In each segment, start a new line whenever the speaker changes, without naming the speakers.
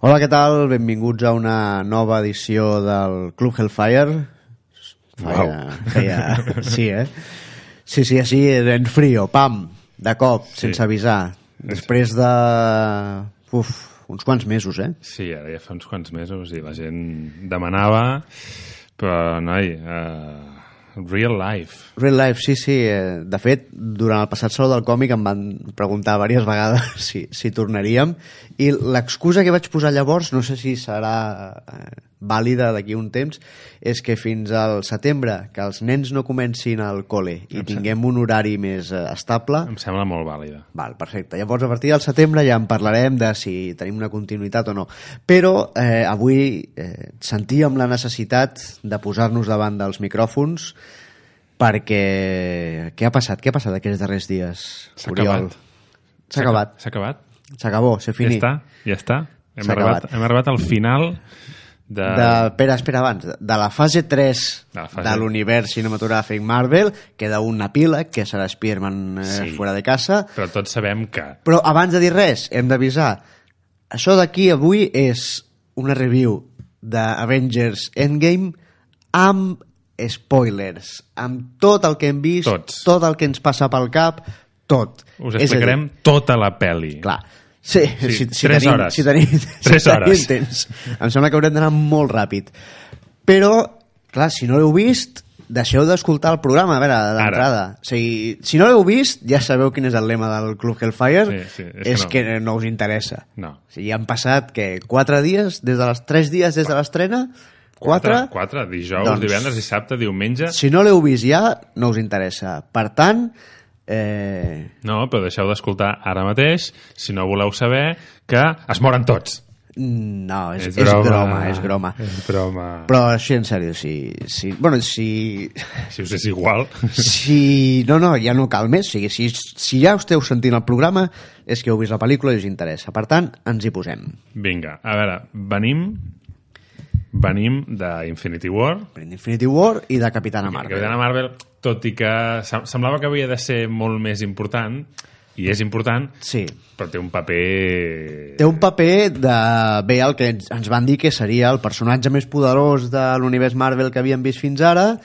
Hola, què tal? Benvinguts a una nova edició del Club Hellfire. Feia, feia, sí, eh? Sí, sí, així, eh, en frío, pam, de cop, sense avisar. Després de... Uf, uns quants mesos, eh?
Sí, ara ja fa uns quants mesos i la gent demanava, però, noi, uh, real life.
Real Life, sí, sí. eh, De fet, durant el passat Saló del Còmic em van preguntar diverses vegades si, si tornaríem i l'excusa que vaig posar llavors, no sé si serà eh, vàlida d'aquí un temps, és que fins al setembre que els nens no comencin al col·le i tinguem un horari més eh, estable...
Em sembla molt vàlida.
Val, perfecte. Llavors, a partir del setembre ja en parlarem de si tenim una continuïtat o no. Però eh, avui eh, sentíem la necessitat de posar-nos davant dels micròfons perquè... Què ha passat? Què ha passat aquests darrers dies,
S'ha
Oriol?
acabat.
S'ha acabat.
S'ha acabat?
S'acabó, se
Ja
finí.
està? Ja està? Hem
S'ha
arribat,
acabat.
hem arribat al final de...
De, espera, espera, abans. de- De la fase 3
De
de,
la fase-
l'univers cinematogràfic Marvel queda un epíleg, que serà Spider-Man eh,
Sí.
fora de casa,
Però tots sabem que...
Però abans de dir res, hem d'avisar. Això d'aquí avui és una review d'Avengers Endgame amb spoilers, amb tot el que hem vist,
Tots.
tot el que ens passa pel cap, tot. És
Us
a dir,
explicarem tota la pel·li.
Clar. Sí, sí, si, si,
tres
tenim,
hores.
si tenim,
Tres
si tenim
hores.
temps. Em sembla que haurem d'anar molt ràpid. Però, clar, si no l'heu vist, deixeu d'escoltar el programa, a veure, d'entrada. O sigui, si no l'heu vist, ja sabeu quin és el lema del Club Hellfire,
Sí, sí, és que
és,
no.
que, no. us interessa.
No.
O sigui, han passat, que quatre dies, des de les tres dies des de l'estrena, quatre,
Quatre, dijous,
Doncs-
divendres, dissabte, diumenge...
Si no l'heu vist ja, no us interessa. Per tant, eh,
No, però deixeu d'escoltar ara mateix, si no voleu saber, que es moren tots.
no, és, és, broma, és broma.
És broma.
Però així en sèrio, si, si, bueno, si,
Si us és igual...
si... No, no, ja no cal més. O sigui, si, si ja esteu sentint el programa, és que heu vist la pel·lícula i us interessa. Per tant, ens hi posem.
Vinga, a veure, venim... Venim d'Infinity War,
Infinity War i de Capitana
Marvel.
Marvel.
Capitana Marvel, tot i que sem- semblava que havia de ser molt més important, i és important,
Sí.
però té un paper...
Té un paper de... Bé, el que ens, ens van dir que seria el personatge més poderós de l'univers Marvel que havíem vist fins ara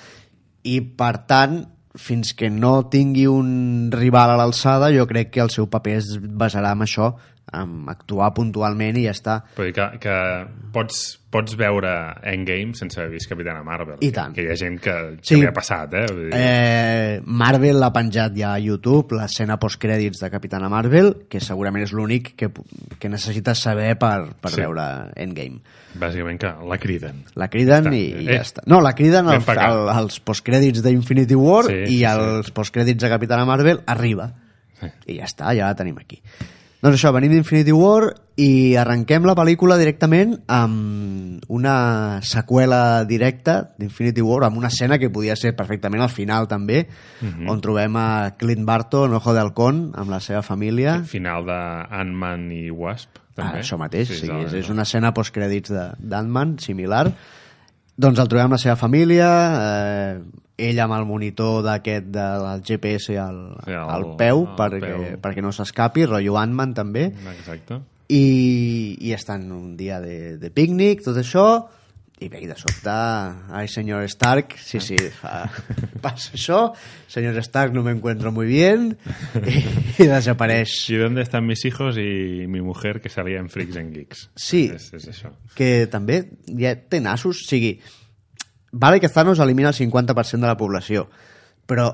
i, per tant, fins que no tingui un rival a l'alçada, jo crec que el seu paper es basarà en això, en actuar puntualment i ja està.
Vull dir que, que pots, pots veure Endgame sense haver vist Capitana Marvel.
I tant.
Que, que hi ha gent que, que
Sí.
sí. li ha passat, eh? Vull dir,
Eh, Marvel l'ha penjat ja a YouTube, l'escena postcrèdits de Capitana Marvel, que segurament és l'únic que, pu- que necessites saber per, per
Sí.
sí. veure Endgame.
Bàsicament que la criden.
La criden
Està.
i, i
Eh,
ja està. No, la criden
ben
al,
pagat.
al, als postcrèdits d'Infinity War
Sí,
sí,
sí,
i als postcrèdits de Capitana Marvel arriba.
Sí.
I ja està, ja la tenim aquí. Doncs això, venim d'Infinity War i arrenquem la pel·lícula directament amb una seqüela directa d'Infinity War, amb una escena que podia ser perfectament al final també,
Mhm.
on trobem a Clint Barton, Ojo de Halcón, amb la seva família.
Final de Ant-Man i Wasp,
Ah,
també.
això mateix, sí,
de-
és, és una escena postcrèdits de- d'Ant-Man, similar. Doncs el trobem amb la seva família, eh, ell amb el monitor d'aquest del GPS al,
Sí, al-
al peu,
al
perquè,
peu.
perquè no s'escapi, rotllo Ant-Man també,
Exacte.
i, i estan un dia de, de pícnic, tot això, i bé, i de sobte, ai, senyor Stark, sí, sí, fa, passa això, senyor Stark no me encuentro muy bien, i, i desapareix.
Sí, ¿dónde están mis hijos y mi mujer que salía en Freaks and Geeks?
Sí.
És, és això.
que també ja té nassos, o sigui, vale que Thanos elimina el 50% de la població, però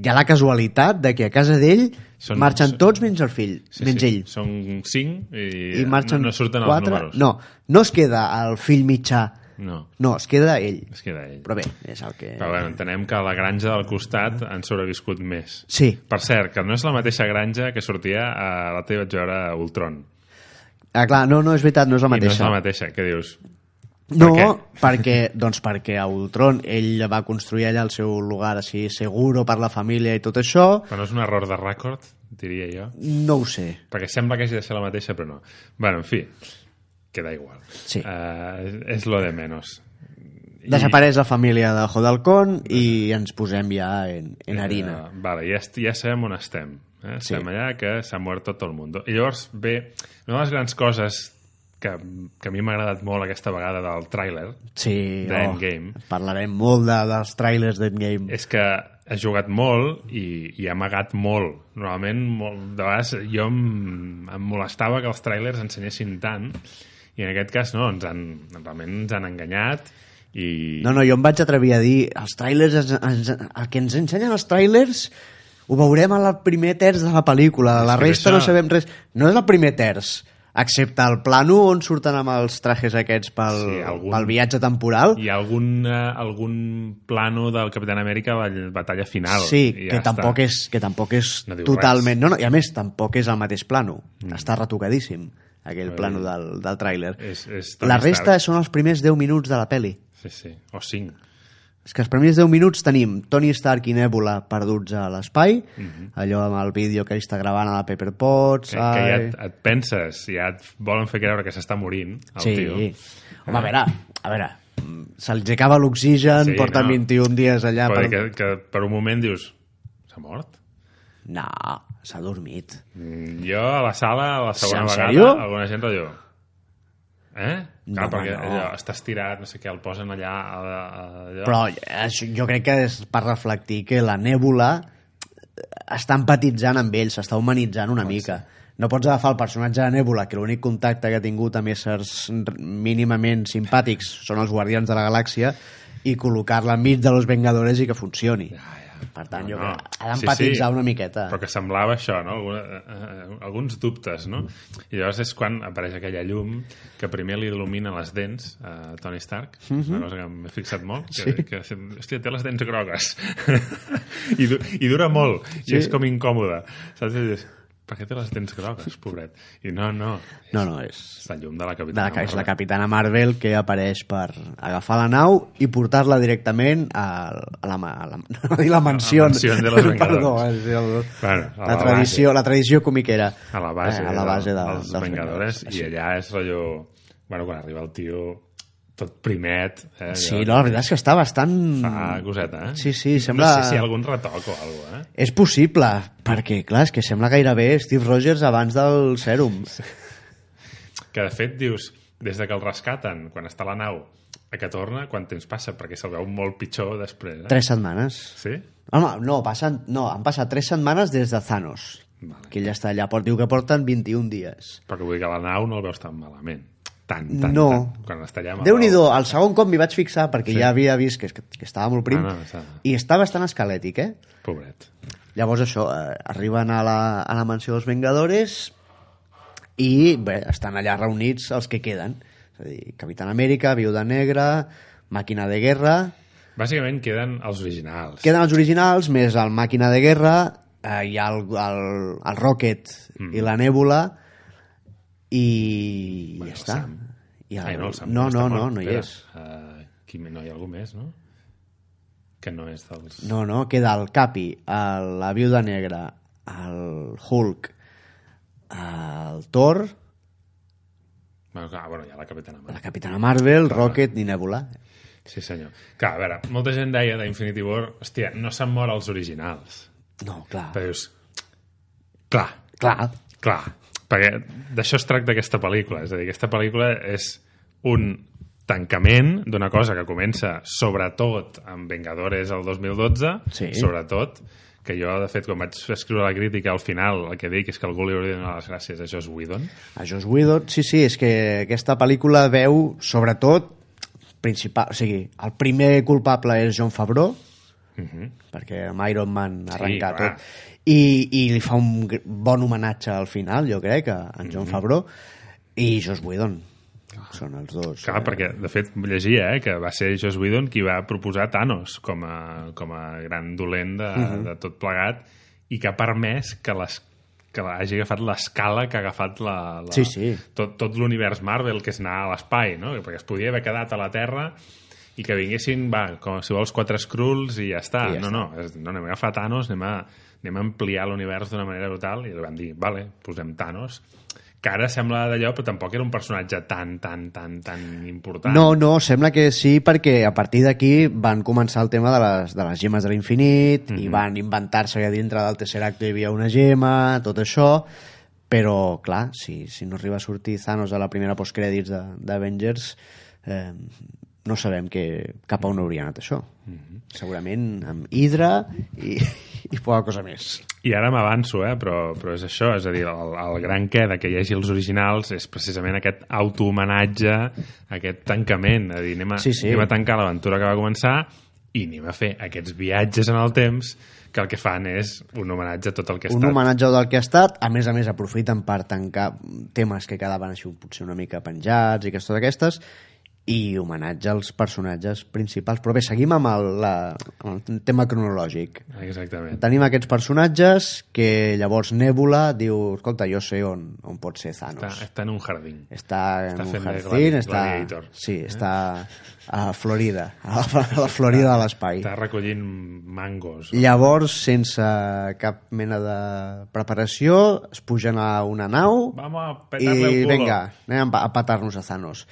hi ha la casualitat de que a casa d'ell
Són-
marxen
són-
tots menys el fill, sí, menys ell.
Són cinc i,
I marxen
eh, no, no surten
quatre...
els números.
No, no es queda el fill mitjà,
No,
no, es queda ell.
es queda ell.
Però bé, és el que...
Però bé, entenem que a la granja del costat han sobreviscut més.
Sí,
Per cert, que no és la mateixa granja que sortia a la teva vaig veure a Ultron.
Ah, clar, no, no, és veritat, no és la
I no és
mateixa.
la mateixa, que dius...
No,
Per
perquè, doncs perquè a Ultron ell va construir allà el seu lugar així seguro per la família i tot això.
Però no és un error de rècord, diria jo.
No ho sé.
Perquè sembla que hagi de ser la mateixa, però no. bueno, en fi, queda igual.
Sí.
Eh, és lo de menos.
Desapareix la família de Hodalcon i ens posem ja en, en harina.
Eh, vale, ja, est- ja sabem on estem. Eh?
Sí.
Estem allà que s'ha mort tot el món. I llavors ve una de les grans coses que, que a mi m'ha agradat molt aquesta vegada del tràiler
Sí, oh,
d'Endgame. Eh,
parlarem molt de, dels trailers d'Endgame.
és que ha jugat molt i, i ha amagat molt. Normalment, molt, de vegades, jo em, em molestava que els trailers ensenyessin tant i en aquest cas no, ens han, realment ens han enganyat i...
No, no, jo em vaig atrevir a dir els trailers, ens, ens, el que ens ensenyen els trailers ho veurem al primer terç de la pel·lícula, de la
És que
resta
això-
no sabem res. No és el primer terç, excepte el plano on surten amb els trajes aquests pel,
Sí, algun-
pel viatge temporal.
Hi ha algun, eh, algun plano del Capitán Amèrica a la batalla final.
Sí,
i
que, tampoc
està.
és, que tampoc és
No diu Mm.
totalment... No, no, I a més, tampoc és el mateix plano. Està retocadíssim, aquell plano del, del tràiler.
És- és Tony
La resta
Stark.
són els primers 10 minuts de la peli.
Sí, sí. O cinc.
És que els primers 10 minuts tenim Tony Stark i Nebula perduts a l'espai, allò amb el vídeo que ell està gravant a la Pepper Potts...
Mhm. Que, que ja
ai.
et, et penses, ja et volen fer creure que s'està morint el
Sí.
tio.
Home, a veure, a veure, mm, se li acaba l'oxigen,
Sí,
porten
no.
21 dies allà...
Però
Per...
que, que per un moment dius, s'ha mort?
No, s'ha dormit.
Mm, Jo a la sala, la segona
En
vegada,
sèrio?
alguna gent allò... Eh? Clar,
No,
perquè
home, no.
allò, està estirat, no sé què, el posen allà... A, a, allò.
Però això, jo crec que és per reflectir que la nèbula eh, està empatitzant amb ell, s'està humanitzant una mica. No pots agafar el personatge de Nèbula, que l'únic contacte que ha tingut amb éssers r- mínimament simpàtics són els Guardians de la Galàxia, i col·locar-la enmig de Los Vengadores i que funcioni. Per tant, jo
No, no.
crec que ha d'empatitzar
Sí, sí.
una miqueta.
Però que semblava això, no? Alguna, eh, eh, alguns dubtes, no?
Mm.
I llavors és quan apareix aquella llum que primer li il·lumina les dents a Tony Stark, mm -hmm.
Mhm.
una cosa que m'he fixat molt, que, sí. que, sem- hòstia, té les dents grogues. I, du I dura molt, sí. i és com incòmode. Saps? I dius, per què té les dents grogues, pobret? I no, no,
No, no, és...
és la llum de la
De
Capitana
la, és la
Marvel.
capitana Marvel que apareix per agafar la nau i portar-la directament a, a la, ma- a la, a la, la mansió.
mansió de los Vengadores.
Perdó, és el,
Bueno, a
la,
la
tradició, la tradició comiquera.
a la base,
Eh, a la base de,
dels, dels Vengadores, i allà és allò... Bueno, quan arriba el tio tot primet... Eh,
Sí,
allò-
no, la veritat és que està bastant...
Fa coseta, eh?
Mm. Sí, sí, sembla-
No sé si hi ha algun retoc o alguna cosa, eh?
És possible, perquè, clar, és que sembla gairebé Steve Rogers abans del sèrum.
Que, de fet, dius, des de que el rescaten, quan està a la nau, a que torna, quan temps passa? Perquè se'l veu molt pitjor després, eh?
Tres setmanes.
Sí?
Home, no, passen, no, han passat tres setmanes des de Thanos.
Vale.
Que ell està allà, port, diu que porten 21 dies.
Però que vull dir que a la nau no el veus tan malament. Tant, tant,
No.
tant. Quan està allà... amb el-
Déu-n'hi-do, el segon cop m'hi vaig fixar perquè ja havia vist que, que, que estava molt prim
Ah, no, està-
i està bastant esquelètic, eh?
Pobret.
Llavors això, eh, arriben a la, a la mansió dels Vengadores i bé, estan allà reunits els que queden. És a dir, Capitán Amèrica, Viuda Negra, Màquina de Guerra...
Bàsicament queden els originals.
Queden els originals, més el Màquina de Guerra, eh, hi ha el, el, el Rocket
Mm.
i la Nèbula i
Bueno,
ja
el
està.
Sam.
I el-
Ai, no, el Sam
no,
està
no,
mort.
no, no hi
Espera,
és.
eh, qui, no hi ha algú més, no? Que no és dels...
No, no, queda el Capi, el, la Viuda Negra, el Hulk, el Thor,
Bueno, clar, bueno, hi ha la Capitana Marvel.
la Capitana Marvel, Rocket i Nebula.
Sí, senyor. Clar, a veure, molta gent deia d'Infinity War, hòstia, no s'han mort els originals.
No, clar.
Però dius, clar,
Clar,
clar, perquè d'això es tracta aquesta pel·lícula. És a dir, aquesta pel·lícula és un tancament d'una cosa que comença sobretot amb Vengadores el 2012,
Sí.
sobretot, que jo, de fet, quan vaig escriure la crítica, al final el que dic és que algú li hauria de donar les gràcies a Joss Whedon.
a Joss Whedon, sí, sí, és que aquesta pel·lícula veu, sobretot, principal, o sigui, el primer culpable és John Favreau, perquè amb Iron Man arrenca
clar.
sí, tot I, i li fa un gr- bon homenatge al final, jo crec, a en
Mhm.
John Favreau i Joss Whedon són els dos
Doncs
eh?
Clar, perquè, de fet, llegia eh, que va ser Joss Whedon qui va proposar Thanos com
Mhm.
a, com a gran dolent de, de tot plegat i que ha permès que les que hagi agafat l'escala que ha agafat la, la,
Sí, sí.
tot, tot l'univers Marvel, que és anar a l'espai, no? perquè es podia haver quedat a la Terra i que vinguessin, va, com si vols, quatre Skrulls i ja està.
I ja
no,
està.
no, és, no, anem a agafar Thanos, anem a, anem a ampliar l'univers d'una manera brutal i li van dir, vale, posem Thanos que ara sembla d'allò, però tampoc era un personatge tan, tan, tan, tan important.
No, no, sembla que sí, perquè a partir d'aquí van començar el tema de les, de les gemes de l'infinit i van inventar-se que dintre del tercer acte hi havia una gema, tot això, però, clar, si, si no arriba a sortir Thanos a la primera postcrèdits de- d'Avengers, eh, no sabem que, cap a on hauria anat això. Segurament amb Hydra i, i poca cosa més.
I ara m'avanço, eh? però, però és això, és a dir, el, el gran què de que hi hagi els originals és precisament aquest autohomenatge, aquest tancament, a dir, anem a,
Sí, sí.
anem a tancar l'aventura que va començar i anem a fer aquests viatges en el temps que el que fan és un homenatge a tot el que ha
Un
estat.
homenatge del que ha estat, a més a més aprofiten per tancar temes que quedaven així potser una mica penjats i aquestes aquestes, i homenatge als personatges principals. Però bé, seguim amb el, la, amb el tema cronològic.
Exactament.
Tenim aquests personatges que llavors Nebula diu, escolta, jo sé on, on pot ser
Està,
Thanos.
està en un jardí.
Està, en
està
un
fent de
jardín,
gladi-
està,
gladiator. Eh?
sí, està a Florida, a la, a la Florida de l'espai.
Està recollint mangos.
Llavors, sense cap mena de preparació, es pugen a una nau
Vamos a petar-le el
i
culo.
vinga, anem a petar-nos a Thanos.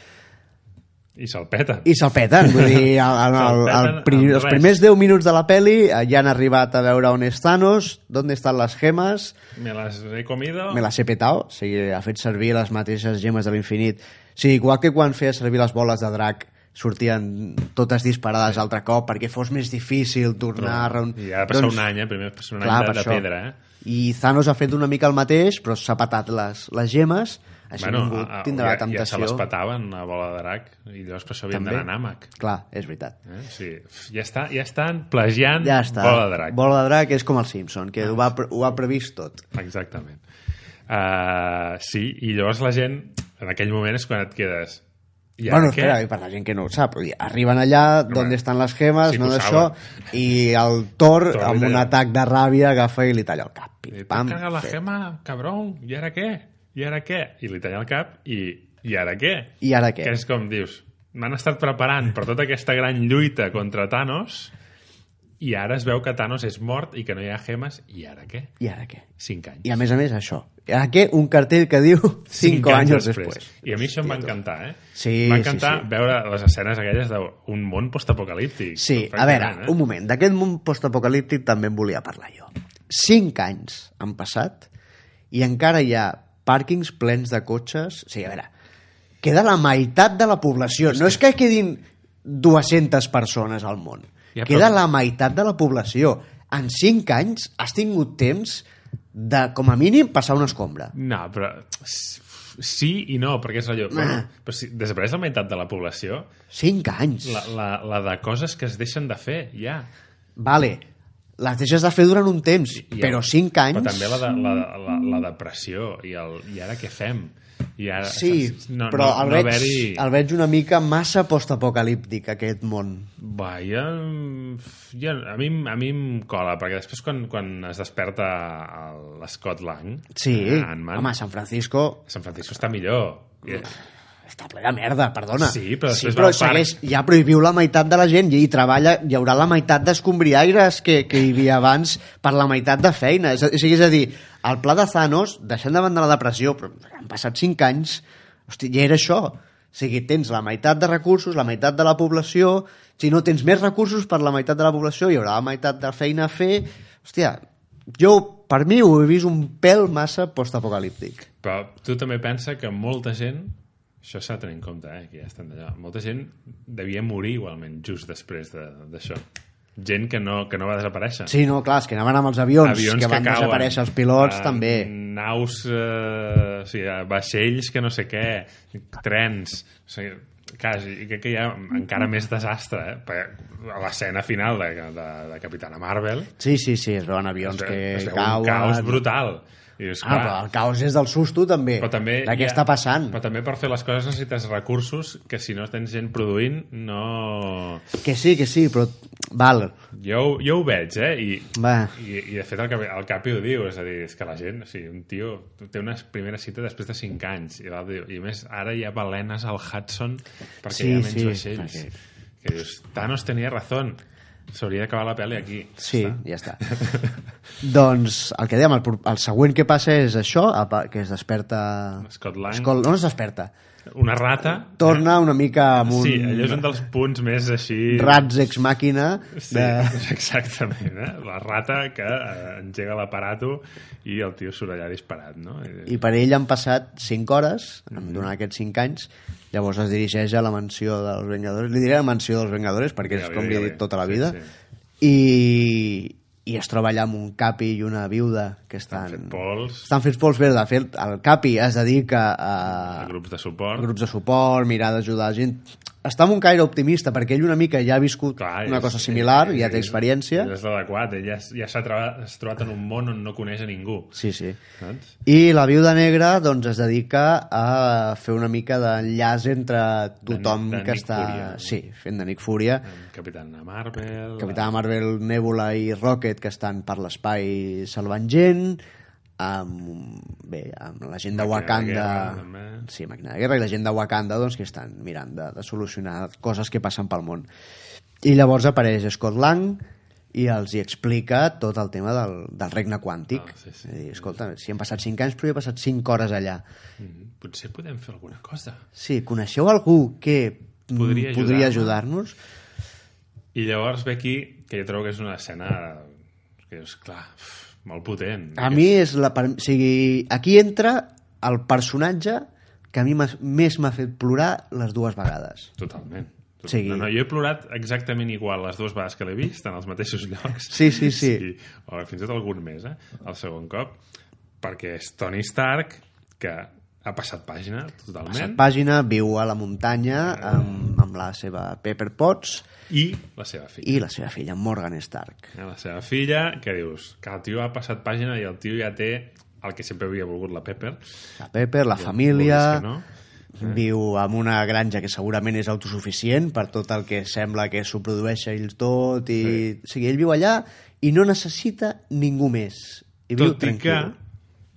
I se'l peta.
I se'l peten, vull dir, el, el, el, el,
Se'l peten
pri-
amb
els
res.
primers 10 minuts de la peli eh, ja han arribat a veure on és Thanos, d'on estan les gemes,
Me las he comido.
me les he petao, o sigui, ha fet servir les mateixes gemes de l'infinit. O sigui, igual que quan feia servir les boles de drac sortien totes disparades altre cop perquè fos més difícil tornar a reunir...
I ha de passar un any, eh? Primer passar un any
Clar,
de,
per
de
això.
pedra, eh?
I Thanos ha fet una mica el mateix, però s'ha patat les, les gemes, així bueno, ningú
a- a-
tindrà
ah, ja,
la
Ja se les
temptació.
petaven a bola de drac i llavors per això havien
També.
d'anar a Nàmec.
Clar, és veritat.
Eh? Sí. Ja, està, ja estan plagiant
Ja està.
bola de drac.
Bola de drac és com el Simpson, que ho, va, pre- ho ha previst tot.
Exactament. Uh, sí, i llavors la gent, en aquell moment és quan et quedes... I
Ja,
ara
bueno,
què?
espera, i per la gent que no ho sap, vull dir, arriben allà, d'on estan les gemes,
sí que
no
ho
d'això, i el Thor,
Thor li
amb un
talla.
atac de ràbia, agafa i li talla el cap. Pim,
I tu
pam,
caga Eh, la
fet.
gema, cabrón, i ara què? I ara què? I li talla el cap i... I ara què?
I ara què?
Que és com dius, m'han estat preparant per tota aquesta gran lluita contra Thanos i ara es veu que Thanos és mort i que no hi ha gemes, i ara què?
I ara què?
Cinc anys.
I a més a més, això. I ara què? Un cartell que diu 5 anys després.
I a mi això em va encantar, eh?
Sí,
va
sí,
encantar
sí.
veure les escenes aquelles d'un món postapocalíptic.
Sí, a veure,
pràcticament,
un moment. D'aquest món postapocalíptic també en volia parlar jo. Cinc anys han passat i encara hi ha pàrquings plens de cotxes... Sí, a veure, queda la meitat de la població. No és que quedin 200 persones al món.
Ja, però-
Queda la meitat de la població. En cinc anys has tingut temps de, com a mínim, passar una escombra.
No, però s- sí i no, perquè és
Ah.
allò... Bueno, però si desapareix la meitat de la població,
Cinc anys!
la, la, la de coses que es deixen de fer, ja.
Vale, les deixes de fer durant un temps,
I
però
el-
cinc anys...
Però també la, de, la, de- la, la depressió i, el, i ara què fem? I ara,
Sí,
saps?
Eh, no, però el, veig,
haver-hi-
el veig una mica massa postapocalíptic, aquest món.
Va, ja, ja, a, mi, em- a mi em cola, perquè després quan, quan es desperta el- l'Scott Lang,
Sí,
eh, Ant-Man,
home, San Francisco
Sant Francisco està millor. I,
està ple de merda, perdona.
Sí, però
sí,
després
però
va al
segueix, ja prohibiu la meitat de la gent i hi treballa, hi haurà la meitat d'escombriaires que, que hi havia abans per la meitat de feina. És, a- o sigui, és a dir, el pla de Thanos, deixant de banda la depressió, però han passat cinc anys, hosti, ja era això. O sigui, tens la meitat de recursos, la meitat de la població, si no tens més recursos per la meitat de la població, hi haurà la meitat de feina a fer... Hòstia, jo, per mi, ho he vist un pèl massa postapocalíptic.
però tu també pensa que molta gent, això s'ha de tenir en compte, eh, que ja estan d'allò, molta gent devia morir igualment just després de- d'això. De, gent que no, que no va desaparèixer.
Sí, no, clar, és que anaven amb els avions,
avions
que van
cauen,
desaparèixer els pilots,
eh,
també.
Naus, eh, o sigui, vaixells que no sé què, trens, o sigui, quasi, i crec que hi ha encara més desastre, eh? Perquè a l'escena final de, de, de Capitana Marvel
Sí, sí, sí, es veuen
es
avions
veu-
Doncs que
es veu Doncs
cauen.
un caos brutal. I dius,
Ah,
clar,
però el caos és del susto, també.
però també
de
hi
què
ha-
està passant.
Però també per fer les coses necessites recursos que si no tens gent produint no...
Que sí, que sí, però... Val,
Jo, ho- jo ho veig, eh? I,
va.
i, i de fet el, Capi- el Capi ho diu, és a dir, és que la gent, o sigui, un tio té una primera cita després de 5 anys i, l'altre diu, i a més ara hi ha balenes al Hudson perquè
Sí,
hi ha menys
sí,
vaixells.
perquè-
Que dius, Thanos tenia raó, s'hauria d'acabar la pel·li aquí.
Sí, ja està. doncs el que dèiem, el, pro- el següent que passa és això, a pa- que es desperta...
Scott Lang.
Scott- no, no es desperta.
Una rata...
Torna una mica amb un...
Sí, allò és un dels punts més així...
Rats ex màquina de...
Sí, exactament, eh? La rata que eh, engega l'aparato i el tio surt allà disparat, no? I,
i per ell han passat 5 hores
Mhm.
mm. durant aquests 5 anys llavors es dirigeix a la mansió dels Vengadores li diré la mansió dels Vengadores perquè
Ja
és
bé,
com
ja
li he
bé.
dit tota la
Sí,
vida
sí.
i i es troba allà amb un capi i una viuda que estan...
Estan fent pols.
Estan fent pols, bé, de fet, el capi es dedica a,
a eh, grups de suport.
grups de suport, mirar d'ajudar la gent... Està amb un caire optimista, perquè ell una mica ja ha viscut una
és-
cosa similar,
és-
ja té
és-
experiència.
És l'adequat, ell ja, s- ja s'ha trobat, trobat en un món on no coneix a ningú.
Sí, sí.
Saps?
I la viuda negra doncs, es dedica a fer una mica d'enllaç entre tothom
de Nick
que està...
Furia, no?
sí, fent de Nick Furia.
Amb Capitana Marvel...
Capità Marvel, Nebula i Rocket que estan per l'espai salvant gent amb, bé, amb la gent de
Màquina de
Wakanda
guerra, també.
sí, màquina de guerra i la gent de Wakanda doncs, que estan mirant de, de solucionar coses que passen pel món i llavors apareix Scott Lang i els hi explica tot el tema del, del regne quàntic
Ah, sí, sí.
I, escolta, si han passat 5 anys però jo he passat 5 hores allà
Mm, Potser podem fer alguna cosa.
sí, coneixeu algú que mm,
Podria
podria
ajudar-me?
ajudar-nos?
I llavors ve aquí, que jo trobo que és una escena que és, clar, uf, molt potent.
A mi és la... per- O sigui, aquí entra el personatge que a mi m'ha- més m'ha fet plorar les dues vegades.
Totalment.
O sigui-
No, no, jo he plorat exactament igual les dues vegades que l'he vist, en els mateixos llocs.
Sí, sí, sí.
sí. O fins i tot algun més, eh? El segon cop. Perquè és Tony Stark, que ha passat pàgina
La
totalment,
pàgina viu a la muntanya amb, amb la seva Pepper Potts
i la seva filla.
i la seva filla Morgan Stark.
I... La seva filla, que dius, que el tio ha passat pàgina i el tio ja té el que sempre havia volgut la Pepper.
La Pepper, la
Vulguis
família,
que No?
viu en una granja que segurament és autosuficient per tot el que sembla que s'ho produeix ell tot i... Sí. O sigui, ell viu allà i no necessita ningú més. I viu
Tot i que...
tranquil.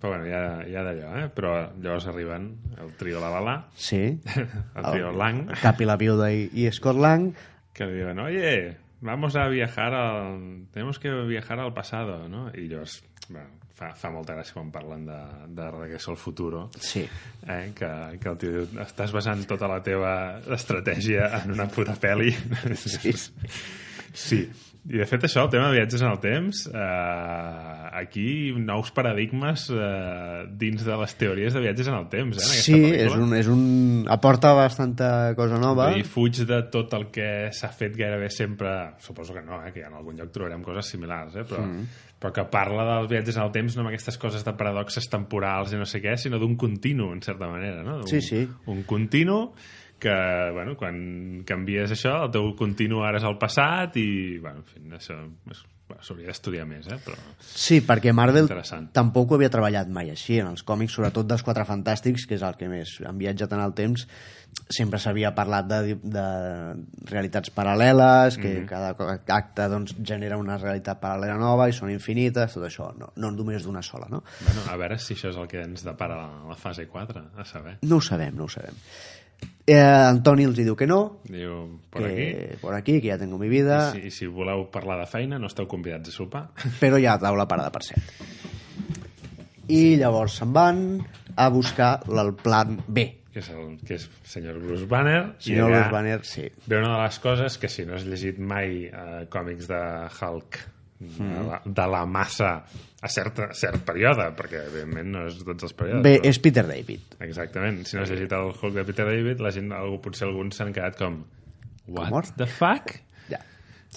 Però bueno, ja, ja d'allò, eh? Però llavors arriben el trio la la la,
Sí.
el trio Lang,
Cap i la viuda i, i Scott Lang.
que le digan, oye, vamos a viajar al... Tenemos que viajar al pasado, no? I llavors, bueno, fa, fa molta gràcia quan parlen de, de Regreso al Futuro,
Sí.
eh? que, que el tio diu, estàs basant tota la teva estratègia en una puta pel·li. Sí. sí. I, de fet, això, el tema de viatges en el temps, eh, aquí nous paradigmes eh, dins de les teories de viatges en el temps, eh, en aquesta
Sí,
pel·lícula.
és un, és un... aporta bastanta cosa nova.
Vull dir, fuig de tot el que s'ha fet gairebé sempre, suposo que no, eh, que en algun lloc trobarem coses similars, eh, però,
Mm.
però que parla dels viatges en el temps no amb aquestes coses de paradoxes temporals i no sé què, sinó d'un continu, en certa manera, no? Un,
Sí, sí.
Un continu que, bueno, quan canvies això, el teu continu ara és el passat i, bueno, en fi, això és- bueno, s'hauria d'estudiar més, eh, però...
Sí, perquè Marvel
Interessant.
tampoc ho havia treballat mai així en els còmics, sobretot dels Quatre Fantàstics, que és el que més han viatjat en el temps. Sempre s'havia parlat de, de realitats paral·leles, que mm -hmm. cada co- acte doncs, genera una realitat paral·lela nova i són infinites, tot això, no, no només d'una sola, no?
Bueno, a veure si això és el que ens depara la, la fase 4, a saber.
No ho sabem, no ho sabem. Eh, Antoni els hi diu que no,
Diu, per aquí...
que, por aquí, que ja tengo mi
I
vida,
si, i si voleu parlar de feina, no esteu convidats a sopar.
però hi ha taula parada per set. I llavors se'n van a buscar el plan B.
que és el que és senyor Bruce Banner. i
Senyor
allà
Bruce Banner, sí.
Ve una de les coses que si no has llegit mai eh, còmics de Hulk,
Mm.
de, la, de la massa a cert, cert període, perquè evidentment no és tots els períodes.
Bé,
però-
és Peter David.
Exactament. Si no has llegit el Hulk de Peter David, la gent, algú, potser alguns s'han quedat com... What
mort?"
the fuck?
Ja.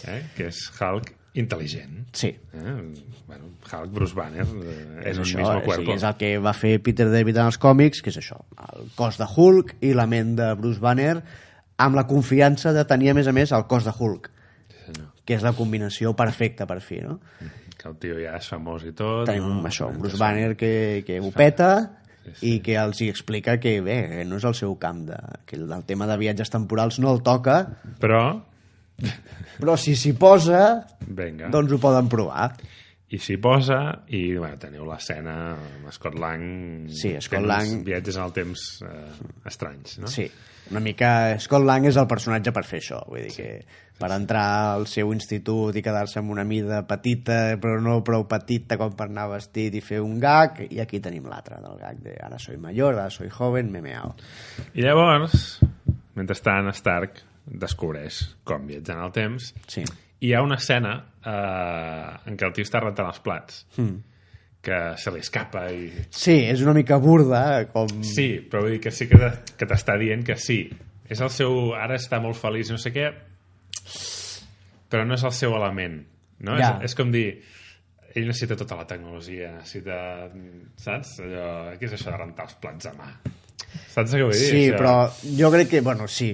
Eh? Que és Hulk intel·ligent.
Sí.
Eh? Bueno, Hulk, Bruce Banner, eh, és, un
això,
mismo
o
cuerpo.
sigui, és el que va fer Peter David en els còmics, que és això, el cos de Hulk i la ment de Bruce Banner, amb la confiança de tenir, a més a més, el cos de Hulk,
Senyor.
que és la combinació perfecta per fi, no?
que el tio ja és famós i tot.
Tenim
no?
un, això, un Bruce
Això.
Banner que, que ho peta i que els hi explica que bé, que no és el seu camp de, que el, el tema de viatges temporals no el toca
Però,
però si s'hi posa
vinga.
doncs ho poden provar
I s'hi posa, i bueno, teniu l'escena amb Scott Lang...
Sí, Scott
fent
Lang-
uns Viatges en el temps eh, estranys, no?
sí, una mica Scott Lang és el personatge per fer això vull dir que per entrar al seu institut i quedar-se amb una mida petita però no prou petita com per anar vestit i fer un gag i aquí tenim l'altre del gag de ara soy mayor, ara soy joven, me meao
I llavors, mentrestant, Stark descobreix com viatjar en el temps
sí,
i hi ha una escena eh, en què el tio està rentant els plats
Hmm.
mm. que se li escapa i...
sí és una mica burda com...
Sí, però vull dir que sí que, te- que t'està dient que sí. És el seu... Ara està molt feliç, no sé què, però no és el seu element. No?
Ja.
És, és com dir... Ell necessita tota la tecnologia, necessita... Saps? Allò... Què és això de rentar els plats a mà? Saps què vull dir?
Sí,
això?
però jo crec que, bueno, sí.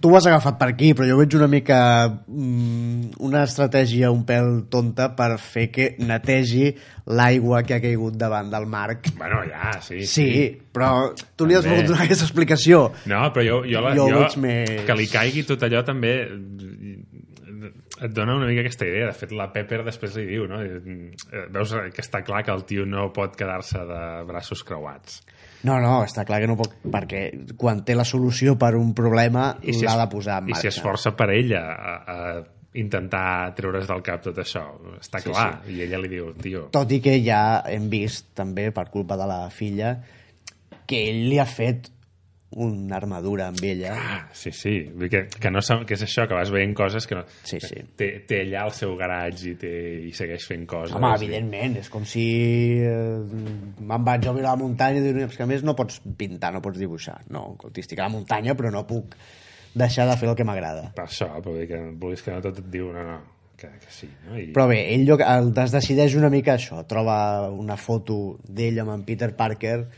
Tu ho has agafat per aquí, però jo veig una mica mm, una estratègia un pèl tonta per fer que netegi l'aigua que ha caigut davant del Marc.
Bueno, ja, sí.
Sí, però tu li has
També.
volgut donar aquesta explicació.
No, però jo, jo, la,
Jo
jo,
ho veig
jo
més-
que li caigui tot allò també et dona una mica aquesta idea. De fet, la Pepper després li diu, no? Eh, Veus que està clar que el tio no pot quedar-se de braços creuats.
No, no, està clar que no pot, perquè quan té la solució per un problema
si
l'ha
es-
de posar en
I si
marxa.
es força per ella a, a intentar treure's del cap tot això. Està
Sí,
clar. I ella li diu, tio...
Tot i que ja hem vist també, per culpa de la filla, que ell li ha fet una armadura amb ella.
Ah, sí, sí. Vull dir Que, que, no, sap- que és això, que vas veient coses que no...
Sí, sí.
Té, té allà el seu garatge i, té, i segueix fent coses.
Home,
i-
evidentment, és com si eh, me'n vaig jo a mirar la muntanya i dic, "No, és que a més no pots pintar, no pots dibuixar. No, escolti, estic a la muntanya, però no puc deixar de fer el que m'agrada.
per això, però vull dir que vulguis que no tot et diu no, no, que, que sí, no? I,
Però bé, ell jo- el desdecideix una mica això. Troba una foto d'ell amb en Peter Parker,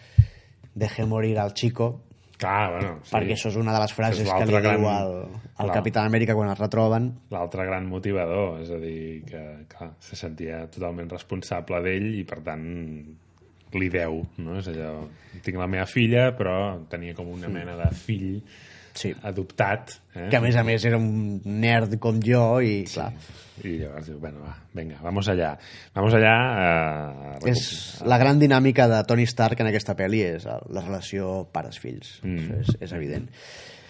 deje morir al chico,
clar, bueno, sí.
perquè això és una de les frases
És
que li
l'altre gran-
diu al, al
clar.
Capitán Amèrica quan es retroben.
l'altre gran motivador, és a dir, que clar, se sentia totalment responsable d'ell i per tant li deu, no? És allò, tinc la meva filla, però tenia com una mena de fill
Sí.
adoptat, eh?
Que a més a més era un nerd com jo i, clar,
I llavors diu, bueno, va, vinga, vamos allà. Vamos allà a... recuperar-
és la gran dinàmica de Tony Stark en aquesta pel·li és el- la relació pares-fills mm. Això és, és evident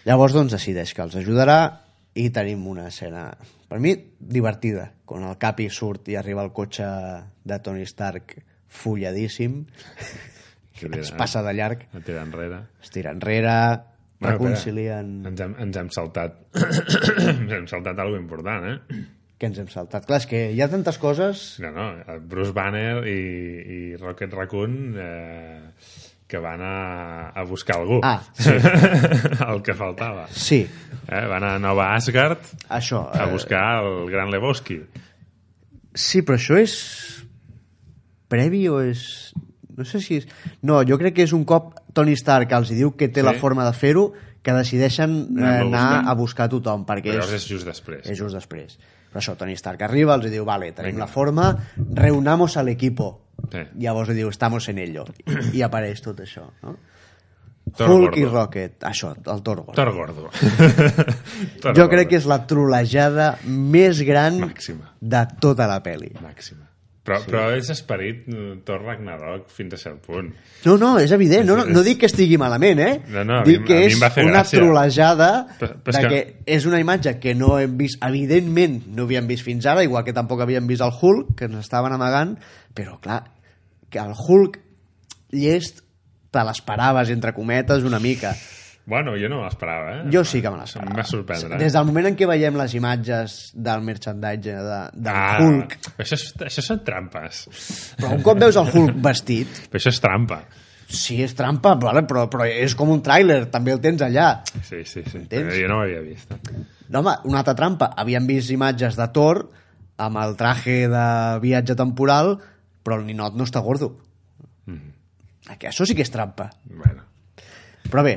llavors doncs decideix que els ajudarà i tenim una escena per mi divertida quan el Capi surt i arriba el cotxe de Tony Stark fulladíssim
Que ve
es
de-
passa de llarg
Et tira enrere.
es tira enrere
Bueno, eh?
reconcilien
Ens hem, ens hem saltat... ens hem saltat alguna important, eh?
que ens hem saltat clar, és que hi ha tantes coses
No, no, Bruce Banner i, i Rocket Raccoon eh, que van a, a buscar algú.
Ah, sí.
el que faltava.
sí,
Eh, van a Nova Asgard
això
a
eh,
buscar el Gran Lebowski.
Sí, però això és previ o és... No sé si és... No, jo crec que és un cop Tony Stark els hi diu que té
Sí.
la forma de fer-ho que decideixen eh,
Anar-lo
anar
buscant.
a buscar tothom perquè
Però
és,
és just després.
és just després. Però això, Tony Stark arriba, els hi diu, vale, tenim
Vinga.
la forma, reunamos al equipo.
Sí.
Llavors li diu, estamos en ello. I apareix tot això, no?
Thor
Hulk i
Gordo.
Rocket, això, el Thor Gordo.
Thor Gordo. Thor
Jo crec que és la trolejada més gran
Màxima.
de tota la pel·li.
Màxima. Però, sí. però és esperit eh, Thor Ragnarok fins a cert punt.
No, no, és evident. No, no,
És-
no dic que estigui malament, eh?
No, no, a
dic
mi-
que
a mi
és
em va fer
una
gràcia.
trolejada
Però- però és
de que...
que-
és una imatge que no hem vist, evidentment no havíem vist fins ara, igual que tampoc havíem vist el Hulk, que ens estaven amagant, però clar, que el Hulk llest te l'esperaves, entre cometes, una mica.
Bueno, jo no me l'esperava, eh?
Jo sí que me l'esperava.
Em va sorprendre.
Des del moment en què veiem les imatges del merchandatge de, del
Ah,
Hulk,
Això, és, això són trampes.
però un cop veus el Hulk vestit,
Però això és trampa.
sí, és trampa, vale, però, però és com un tràiler, també el tens allà.
Sí, sí, sí.
Entens?
Però jo no ho havia vist.
No, home, una altra trampa. Havíem vist imatges de Thor amb el traje de viatge temporal, però el ninot no està gordo.
Mhm.
Mm. Això sí que és trampa.
Bueno.
Però bé,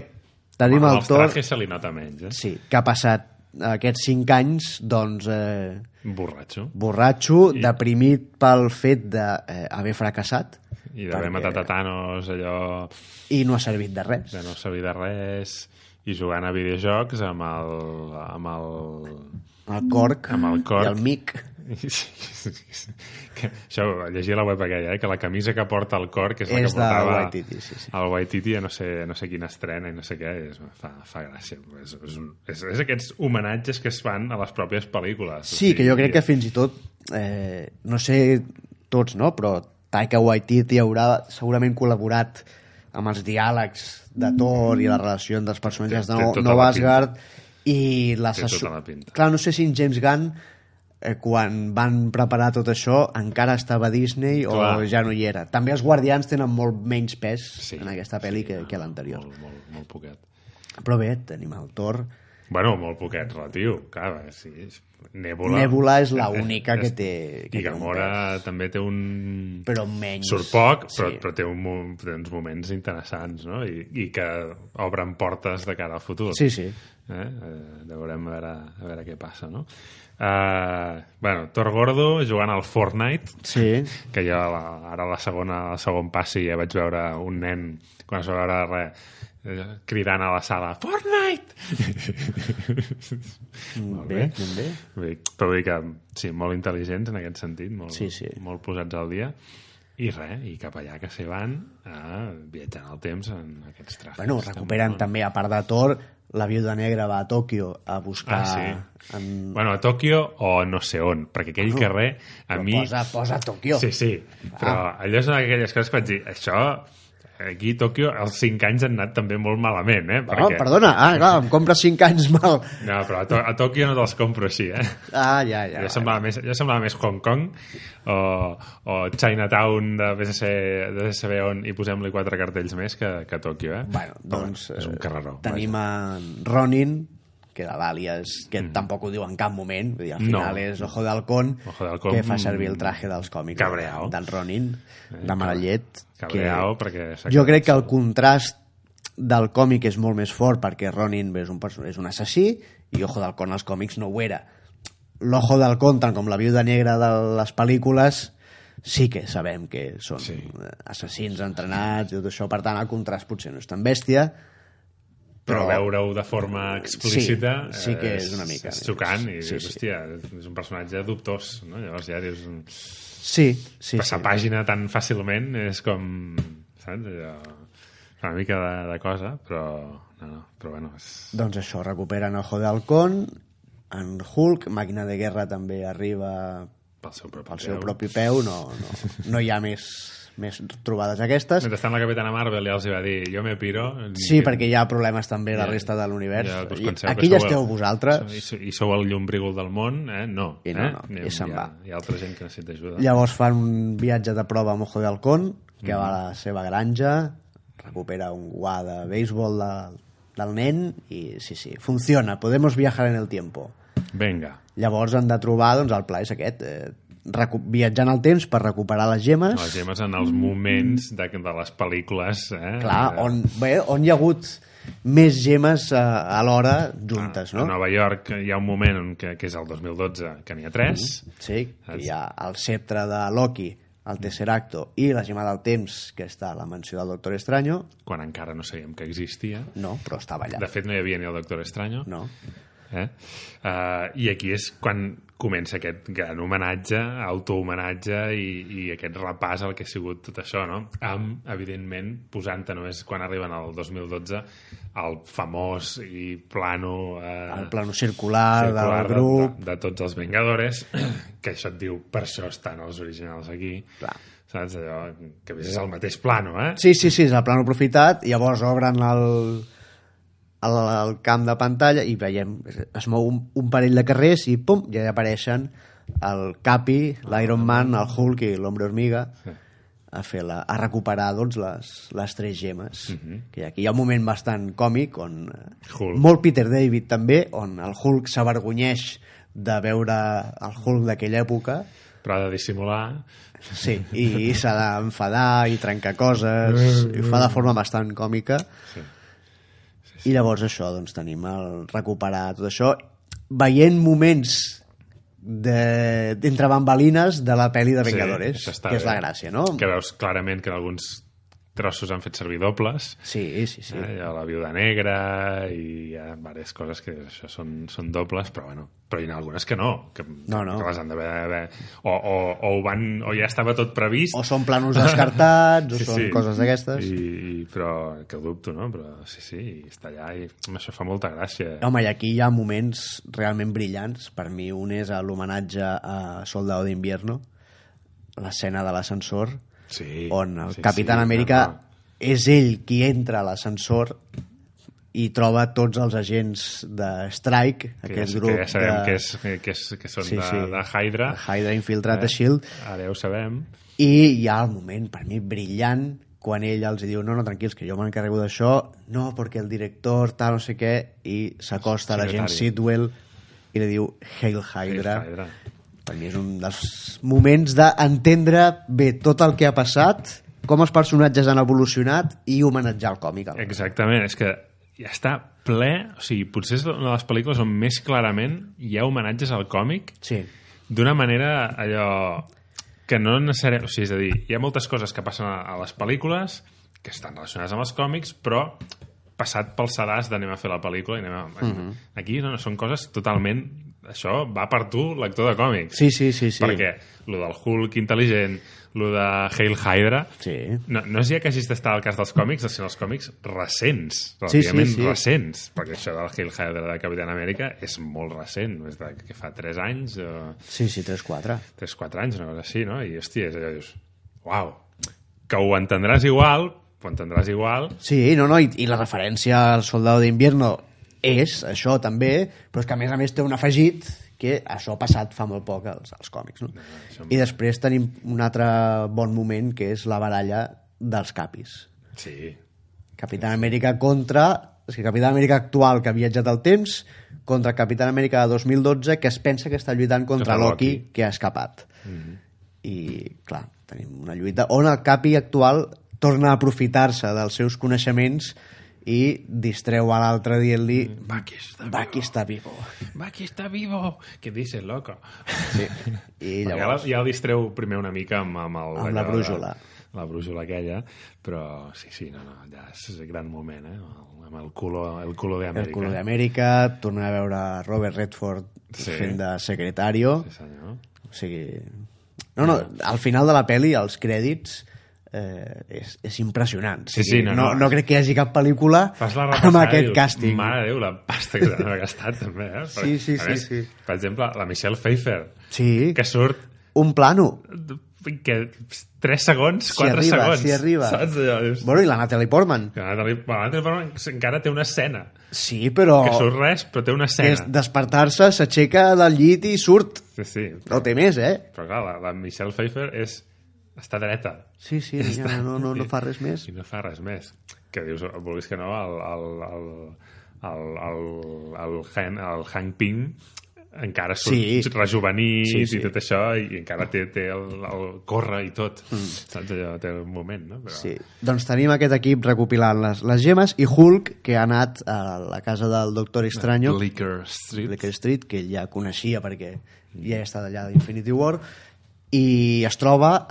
tenim el
Bueno, als
Thor...
trajes se li nota menys, eh?
Sí, que ha passat aquests cinc anys, doncs, eh,
Borratxo.
borratxo, deprimit pel fet d'haver eh, haver fracassat
I d'haver
Perquè-
matat a Thanos, allò
i no ha servit de res.
de no servir de res i jugant a videojocs amb el... amb el...
El corc,
Amb el corc.
i el mic.
que, això, llegir la web aquella, eh? que la camisa que porta el cor, que és la
És
que
de
portava
Waititi, sí, sí.
el Waititi a no sé, no sé quina estrena i no sé què, és, fa, fa gràcia. És, és, un, és, és aquests homenatges que es fan a les pròpies pel·lícules.
Sí, que jo crec que fins i tot, eh, no sé tots, no? però Taika Waititi haurà segurament col·laborat amb els diàlegs de Thor i la relació entre els personatges
Mm. Té-
de
té
No-
tota
Nova
la
Asgard i la
Té
sessió...
tota la pinta.
Clar, no sé si en James Gunn eh, quan van preparar tot això encara estava a Disney o
Clar.
ja no hi era. També els Guardians tenen molt menys pes
Sí,
en aquesta pel·li que, que l'anterior.
Molt, molt, molt poquet.
Però bé, tenim el Thor.
Bueno, molt poquet relatiu, clar, perquè sí, és- Nèbula...
Nèbula és la única que té- que
I
té un
Gamora també té un...
Però menys...
Surt poc, però,
Sí.
però té, un, mo- té uns moments interessants, no? I, I que obren portes de cara al futur.
Sí, sí.
Eh? Eh, ja veurem a veure, a veure què passa, no? Uh, bueno, Thor Gordo jugant al Fortnite,
Sí,
que jo la, ara la segona, el segon passi ja vaig veure un nen, quan es va veure re, eh, cridant a la sala Fortnite!
ben bé, ben bé.
Vull dir, però vull dir que, sí, molt intel·ligents en aquest sentit, molt,
Sí, sí.
molt posats al dia. I res, i cap allà que se van a viatjar en el temps en aquests trajes.
Bueno, recuperen també, a part de Thor, la viuda negra va a Tòquio a buscar...
Ah, sí.
En...
Bueno, a Tòquio o no sé on, perquè aquell
Ah,
carrer a
Però
mi...
Posa, posa Tòquio.
Sí, sí, però
Ah.
allò és una d'aquelles coses que vaig dir, això, aquí a Tòquio els 5 anys han anat també molt malament, eh?
Oh, perdona, ah, clar, em compres 5 anys mal.
No, però a, to a Tòquio no te'ls compro així, eh?
Ah, ja, ja.
Jo semblava, més, jo semblava més Hong Kong o, o Chinatown de BSC, de BSC on hi posem-li quatre cartells més que, que Tòquio, eh?
Bueno,
Però
doncs...
És un
eh,
carreró.
Tenim a Ronin, que era l'àlies, que tampoc ho diu en cap moment, vull dir, al
Mm. No.
final és Ojo de Halcón,
Ojo de Halcón, mm,
que fa servir el traje dels còmics
cabreao. Eh,
del Ronin, de Marallet.
Cabreao, perquè s'ha
Jo
quedat
crec que el contrast del còmic és molt més fort perquè Ronin és un, perso- és un assassí i Ojo del Con als còmics no ho era. L'Ojo del Con, tant com la viuda negra de les pel·lícules, sí que sabem que són sí.
Sí.
assassins entrenats i tot això, per tant el contrast potser no és tan bèstia,
però,
però-
veure-ho de forma explícita
sí que
eh,
és una mica.
és xocant i
Sí,
dius,
sí.
hòstia, és un personatge dubtós, no? Llavors ja dius, "Mm,
sí, sí,
passar
sí.
pàgina tan fàcilment és com, saps, allò, una mica de, de cosa, però, no, no, però bueno, és,
Doncs això, recuperen Ojo de Halcón, en Hulk, Màquina de Guerra també arriba
pel seu propi
pel seu
peu.
propi peu, no, no, no hi ha més, més trobades aquestes.
Mentrestant la Capitana Marvel ja els hi va dir jo me piro.
Sí, perquè hi ha problemes també a la resta de l'univers.
Ja, doncs
I
penseu que
Aquí ja
sou
esteu
el-
vosaltres.
I, sou- I sou el llumbrigol del món, eh? No.
I no,
eh?
no,
Hi ha-
i se'n
hi ha-
va.
Hi ha altra gent que necessita ajuda.
Llavors fan un viatge de prova a Mojo de Halcón,
Mm-hmm.
que va a la seva granja, recupera un guà de béisbol de, del nen i sí, sí, funciona, podemos viajar en el tiempo.
Vinga.
Llavors han de trobar, doncs el pla és aquest, eh, recu- viatjar en el temps per recuperar les gemes,
Les gemes en els moments de, de les pel·lícules, eh?
clar,
Eh,
on, bé, on hi ha hagut més gemes eh, alhora juntes,
A
no?
Nova York hi ha un moment en que, que és el 2012, que n'hi ha tres.
Sí, que hi ha el sceptre de Loki, el Tesseracto i la gemma del temps, que està a la mansió del Doctor Estranyo,
quan encara no sabíem que existia.
no, però estava allà.
De fet, no hi havia ni el Doctor Estranyo.
No.
Eh? Uh, I aquí és quan comença aquest gran homenatge, autohomenatge i, i aquest repàs al que ha sigut tot això, no? Amb, evidentment, posant-te només quan arriben al 2012 el famós i plano... Eh,
El plano circular, del
circular
grup...
de, de, de tots els Vengadores, que això et diu, per això estan els originals aquí.
Clar.
Saps? Allò, que a més és el mateix plano, eh?
Sí, sí, sí, és el plano aprofitat, llavors obren el, el, el camp de pantalla i veiem, es mou un, un parell de carrers i pum, ja hi apareixen el Capi, l'Iron Man, el Hulk i l'Hombre Hormiga a, fer la, a recuperar doncs, les, les tres gemes. que aquí hi ha un moment bastant còmic on, eh,
Mhm. Hulk.
molt Peter David també, on el Hulk s'avergonyeix de veure el Hulk d'aquella època
Però ha de dissimular...
Sí, i s'ha d'enfadar i trencar coses, i ho fa de forma bastant còmica. I llavors això, doncs tenim el recuperar tot això veient moments de- d'entre bambalines de la pel·li de
Sí,
Vengadores,
això està
que és la
bé.
gràcia, no?
Que veus clarament que en alguns trossos han fet servir dobles.
Sí, sí, sí.
Sí. Eh? Hi ha la viuda negra i hi ha diverses coses que això són, són dobles, però bueno, però hi ha algunes que no, que,
No, no.
que les han d'haver... haver- O, o, o, ho van, o ja estava tot previst.
O són planos descartats, o sí, són sí. coses d'aquestes.
I, i, però que ho dubto, no? Però sí, sí, i està allà i home, això fa molta gràcia.
Home, i aquí hi ha moments realment brillants. Per mi un és a l'homenatge a Soldado d'Invierno, l'escena de l'ascensor,
Sí,
on el
sí,
Capitán
sí,
Amèrica
no, no.
és ell qui entra a l'ascensor i troba tots els agents de Strike,
Que
aquest
ja,
grup
que ja sabem
de...
que, és, que, que, és, que són
Sí,
sí, de,
sí.
de Hydra.
Hydra infiltrat de
Eh?
S.H.I.E.L.D.
Ara ja ho sabem.
E I hi ha el moment, per mi, brillant, quan ell els diu, no, no, tranquils, que jo m'encarrego d'això, no, perquè el director, tal, no sé què, i s'acosta a la gent
Secretari.
Sidwell i li diu Hail Hydra.
Hydra. Hydra.
Per mi és un dels moments d'entendre bé tot el que ha passat, com els personatges han evolucionat i homenatjar el còmic.
Eh.
alhora.
Exactament, és que ja està ple, o sigui, potser és una de les pel·lícules on més clarament hi ha homenatges al còmic
Sí.
d'una manera allò que no necessàriament... O sigui, és a dir, hi ha moltes coses que passen a a les pel·lícules que estan relacionades amb els còmics, però passat pel sedàs d'anem a fer la pel·lícula i anem a...
Mhm.
Aquí no, no, són coses totalment... Això va per tu, lector de còmics.
Sí, sí, sí, sí.
Perquè lo del Hulk intel·ligent, lo de Hail Hydra...
Sí.
No, no és ja que hagis d'estar al cas dels còmics, sinó els còmics recents,
Sí, sí,
relativament
sí.
recents, perquè això del Hail Hydra de Capitán Amèrica és molt recent, és de, que fa 3 anys o
Sí, sí, 3-4.
3-4 anys, una cosa així, no? I, hòstia, és allò, dius, uau, que ho entendràs igual, ho entendràs igual,
Sí, no, no, i, i la referència al Soldado d'Invierno és això també, però és que a més a més té un afegit que això ha passat fa molt poc als, als còmics. No?
això-
I després tenim un altre bon moment que és la baralla dels capis.
sí,
Capitán Amèrica contra... O sigui, Capitán Amèrica actual que ha viatjat al temps contra Capitán Amèrica de 2012 que es pensa que està lluitant contra
Contra Loki. Mhm.
Loki que ha escapat. I, clar, tenim una lluita on el capi actual torna a aprofitar-se dels seus coneixements i distreu a l'altre dient-li
Bucky està
Bucky està vivo.
Bucky està vivo, que dices, loco.
Sí. I
Perquè
llavors...
ara ja el distreu primer una mica amb, amb, el,
Amb la
allò de-
brúixola.
la brúixola aquella, però sí, sí, no, no, ja és un gran moment, eh? Amb el- Amb el color, el color d'Amèrica.
El color d'Amèrica, tornem a veure Robert Redford
Sí.
fent de secretario.
Sí, senyor.
O sigui... No, no, al final de la pel·li, els crèdits, eh, és, és impressionant. O
Sí,
sigui,
sí, no,
no,
no.
no crec que hi hagi cap pel·lícula
Fas la repassada
amb
i
aquest
dius,
càsting.
Mare de Déu, la pasta que s'han gastat, també, eh?
Sí, sí,
a
sí,
més,
sí.
Per exemple, la Michelle Pfeiffer,
Sí,
que surt
un plano.
que 3 segons, 4
arriba,
segons.
si arriba.
Saps? Allò, dius,
Bueno, i la Natalie Portman.
que la Natalie- la Natalie Portman encara té una escena.
Sí, però...
Que surt res, però té una escena.
Oh. és despertar-se, s'aixeca del llit i surt.
Sí, sí.
No té més, eh?
Però clar, la, la Michelle Pfeiffer és, està dreta
Sí, sí, ja, no, no, no fa res més.
i no fa res més. Que dius, vulguis que no, el, el, el, el, el, el, Han, el Hank Pym encara surt
Sí.
rejuvenit
Sí, sí.
i tot això i, i encara té, té el, el corre i tot mm. saps allò, té un moment no? Però...
Sí. Doncs tenim aquest equip recopilant les, les gemes i Hulk, que ha anat a la casa del Doctor Estranyo.
Liquor Street
Licker Street, que ell ja coneixia perquè ja he estat allà d'Infinity War, i es troba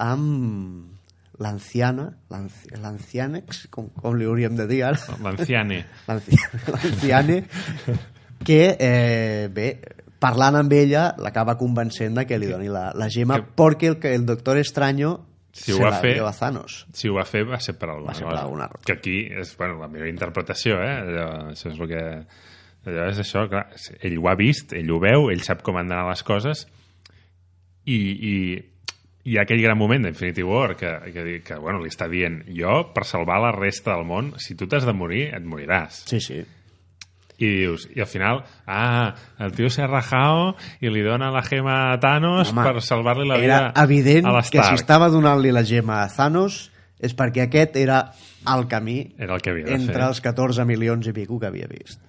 amb l'anciana, l'anci- l'anciànex, com, com li hauríem de dir ara,
l'anciane
l'anci- l'anciane, que, eh, bé, parlant amb ella, l'acaba convencent de que li doni la, la gema,
Que-
perquè el, que el doctor Estranyo
Si ho
se
va
la
fer-
dio a Thanos.
si ho va fer va ser per alguna
Va ser per
cosa.
alguna raó.
Que aquí és bueno, la meva interpretació, eh? Allò, això és el que... Allò és això, clar, ell ho ha vist, ell ho veu, ell sap com han d'anar les coses i, i hi ha aquell gran moment d'Infinity War que, que, di- que bueno, li està dient jo, per salvar la resta del món, si tu t'has de morir, et moriràs.
Sí, sí.
I dius, i al final, ah, el tio s'ha rajao i li dona la gema a Thanos
Home,
per salvar-li la vida
Era evident
a
que
l'Stark.
si estava donant-li la gema a Thanos és perquè aquest era el camí
Era el que havia de
entre
fer.
els 14 milions i pico que havia vist.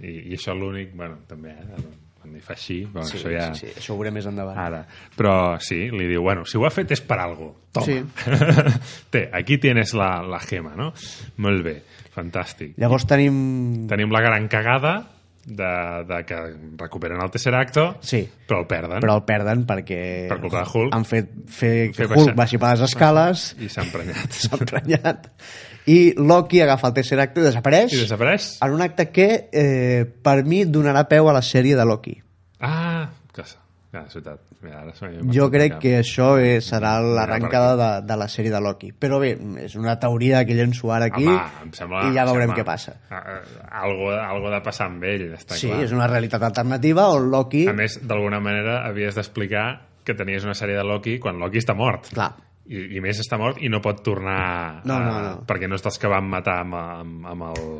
I, i això l'únic, bueno, també, eh, quan hi fa així, bueno,
Sí,
això ja...
sí, sí, això ho veurem més endavant.
Ara. Però sí, li diu, bueno, si ho ha fet és per algo. Toma.
Sí.
Té, aquí tienes la, la gema, no? Molt bé, fantàstic.
Llavors tenim...
Tenim la gran cagada, de, de que recuperen el Tesseracto,
Sí.
però el perden.
però el perden perquè
Per culpa de Hulk.
han fet fer que
Fer
Hulk
baixar.
baixi per les escales
I s'ha emprenyat.
s'ha emprenyat i Loki agafa el Tesseract i desapareix
I desapareix.
en un acte que eh, per mi donarà peu a la sèrie de Loki
Ah, casa. Ja, és veritat. Mira, ara se m'ha
jo crec
complicat.
que això eh, serà l'arrencada de,
perquè-
de la sèrie de Loki però bé, és una teoria que llenço ara aquí
Home, em sembla,
i ja
em
veurem
sembla-
què passa
Ah, ah, Algo, algo de passar amb ell, està
sí,
clar.
és una realitat alternativa on Loki
A més, d'alguna manera havies d'explicar que tenies una sèrie de Loki quan Loki està mort.
clar,
I, I més està mort i no pot tornar...
No,
a-
no, no.
Perquè no és dels que van matar amb, amb, amb, el,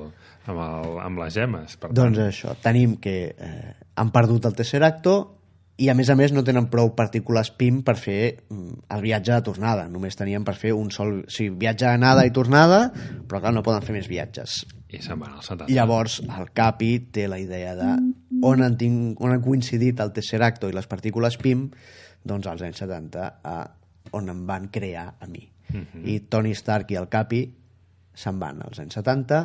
amb, el, amb les gemes. Per
Doncs això, tenim que eh, han perdut el tercer acto i a més a més no tenen prou partícules PIM per fer mm, el viatge de tornada. Només tenien per fer un sol... O sigui, viatge anada i tornada, però clar, no poden fer més viatges.
I se'n van al 70.
Llavors, el Capi té la idea de on han, tinc, on han coincidit el tercer acto i les partícules PIM, doncs als anys 70, a, on em van crear a mi. I Tony Stark i el Capi se'n van als anys 70,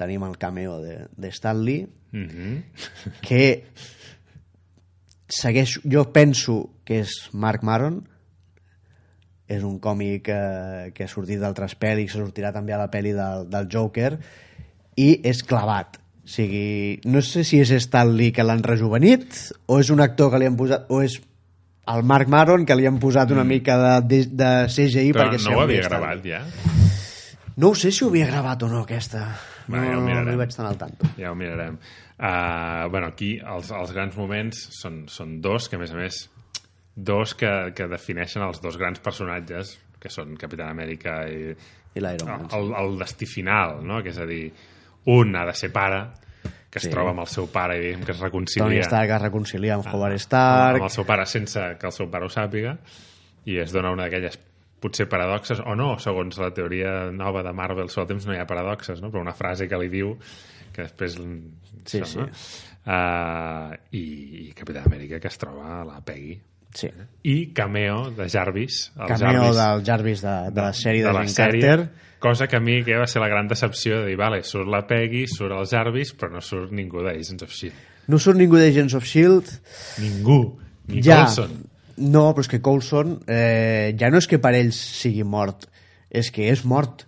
tenim el cameo de, de Stan Lee,
Mm
que segueix, jo penso que és Mark Maron és un còmic eh, que ha sortit d'altres pel·lis, sortirà també a la pel·li del, del Joker i és clavat o sigui, no sé si és Stan Lee que l'han rejuvenit o és un actor que li han posat o és el Mark Maron que li han posat una mica de, de, de CGI
Però
perquè
Mm. no ho
sembli
havia
Stan Lee.
gravat, ja?
no ho sé si ho havia gravat o no aquesta
Va, ja ho
no, no, no
mirarem.
hi vaig tan al tanto
Ja ho mirarem. Uh, bueno, aquí els, els grans moments són, són dos, que a més a més dos que, que defineixen els dos grans personatges, que són Capitán Amèrica i
i l'Iron Man
el, Ah, el destí final, no? que és a dir, un ha de ser pare, que es
Sí.
troba amb el seu pare i diguem que es
Tony
reconcilia
Stark es reconcilia amb Howard
Ah, amb el
Stark
seu pare sense que el seu pare ho sàpiga i es dona una d'aquelles potser paradoxes, o no, segons la teoria nova de Marvel sobre el temps no hi ha paradoxes, no? però una frase que li diu que després...
Sí,
això,
sí.
No? Uh, i, I Capità Amèrica que es troba a la Peggy.
sí.
I cameo de Jarvis. El
cameo
Jarvis
del Jarvis de, de la sèrie de,
de la
Jane
sèrie,
Carter
cosa que a mi que va ser la gran decepció de dir, vale, surt la Peggy, surt el Jarvis, però no surt ningú d'Agents of S.H.I.E.L.D.
no surt ningú d'Agents of S.H.I.E.L.D
Ningú. Ni
E ja,
Coulson.
no, però és que Coulson eh, ja no és que per ell sigui mort és que és mort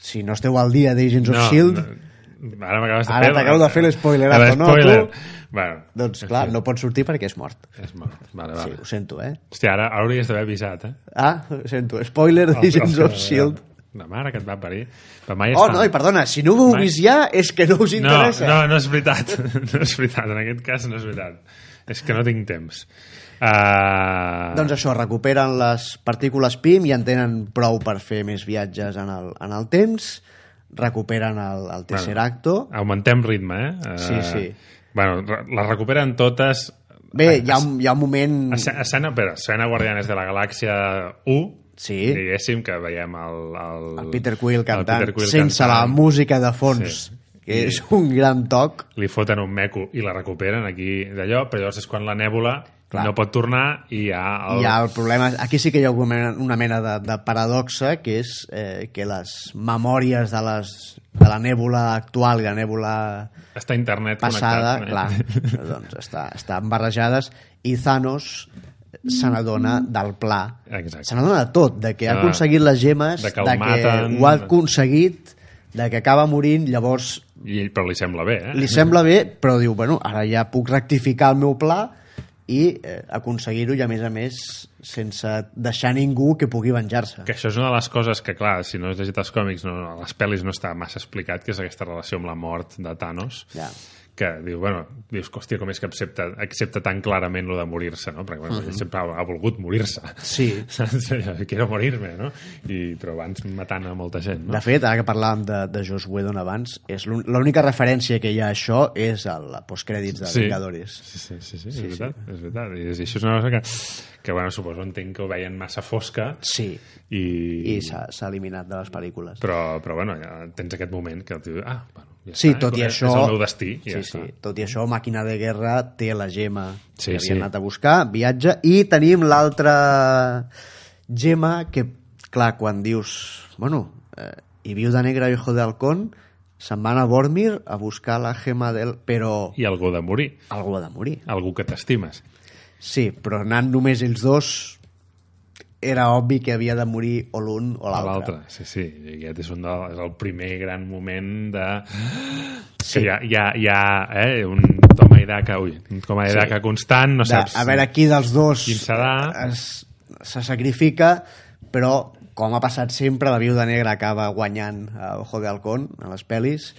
si no esteu al dia d'Agents of S.H.I.E.L.D
No, ara m'acabes de
Ara
fer...
t'acabo de fer l'espoilerazo,
Ara,
no,
Spoiler.
tu?
Bueno,
doncs clar, no pot sortir perquè és mort
és mort. Vale,
sí,
vale.
ho sento, eh
Hòstia, ara ara hauries d'haver avisat, eh?
ah, ho sento,
Oh,
spoiler d'Agents of S.H.I.E.L.D
La mare que et va parir. Però mai
E Oh,
està-
no, i perdona, si no ho heu
Mai-
vist ja és que no us
no,
interessa
no, no és veritat. No és veritat, en aquest cas no és veritat. És que no tinc temps. Uh...
Doncs això, recuperen les partícules PIM i en tenen prou per fer més viatges en el, en el temps, recuperen el, el tercer acto.
Ah, Augmentem ritme, eh? Eh,
Sí, sí. Mm.
Bueno, re- les recuperen totes...
Bé,
ah,
hi ha, un- hi ha un moment...
Escena, escena, però, escena Guardianes de la Galàxia 1,
Sí.
diguéssim, que veiem el... El,
El Peter Quill cantant,
Peter Quill
sense
cantant.
la música de fons,
Sí.
que és un gran toc.
Li foten un meco i la recuperen aquí d'allò, però llavors és quan la nèbula
Clar.
no pot tornar i hi ha el...
Hi ha el problema... Aquí sí que hi ha alguna- una mena de, de paradoxa, que és eh, que les memòries de, les, de la nèbula actual i la nèbula
Està a internet
passada,
connectat. eh?
clar, doncs està, estan barrejades i Thanos se n'adona del pla.
Exacte.
Se n'adona de tot, de que ha
Ah,
aconseguit les gemes,
de
de
que
que,
el maten.
ho ha aconseguit, de que acaba morint, llavors
I, ell- però li sembla bé, eh?
li sembla bé, però diu, bueno, ara ja puc rectificar el meu pla i eh, aconseguir-ho, i a més a més, sense deixar ningú que pugui venjar-se.
Que això és una de les coses que, clar, si no has llegit els còmics, no, a les pel·lis no està massa explicat, que és aquesta relació amb la mort de Thanos.
Ja.
que diu, bueno, dius, hòstia, com és que accepta, accepta tan clarament lo de morir-se, no? Perquè, bueno, ell sempre ha, ha volgut morir-se.
Sí.
Saps? Allò, Quiero morir-me, no? I, però abans matant a molta gent, no?
De fet, ara que parlàvem de, de Josh Whedon abans, és l'un- l'única referència que hi ha a això és a la postcrèdits de
Sí.
Vingadores.
Sí, sí, sí, sí, és veritat, és veritat. I, és- això és una cosa que, que bueno, suposo, entenc que ho veien massa fosca
Sí,
i...
i s'ha s'ha eliminat de les pel·lícules.
Però, però bueno, ja tens aquest moment que el tio... Ah, bueno, ja
Sí,
està,
tot i
és-
això...
És el meu destí, i
sí,
ja
sí.
està.
Tot i això, Màquina de Guerra té la gema
Sí,
que havia
sí.
anat a buscar, viatja, i tenim l'altra gema que, clar, quan dius, bueno, eh, i viu de negre i ojo de halcón, se'n van a Vormir a buscar la gema del... Però
I algú ha de morir,
algú ha de morir.
algú que t'estimes.
Sí, però anant només ells dos era obvi que havia de morir o l'un o
a
l'altre.
l'altre. Sí, sí, i aquest és, un de, és el primer gran moment de...
Sí.
Sí. Hi ha, hi ha, hi ha eh, un toma i daca, ui, un toma i daca sí. constant, no
De,
saps...
a veure qui dels dos
Quin serà?
es, se sacrifica, però com ha passat sempre, la viuda negra acaba guanyant a Ojo de Halcón a les pel·lis.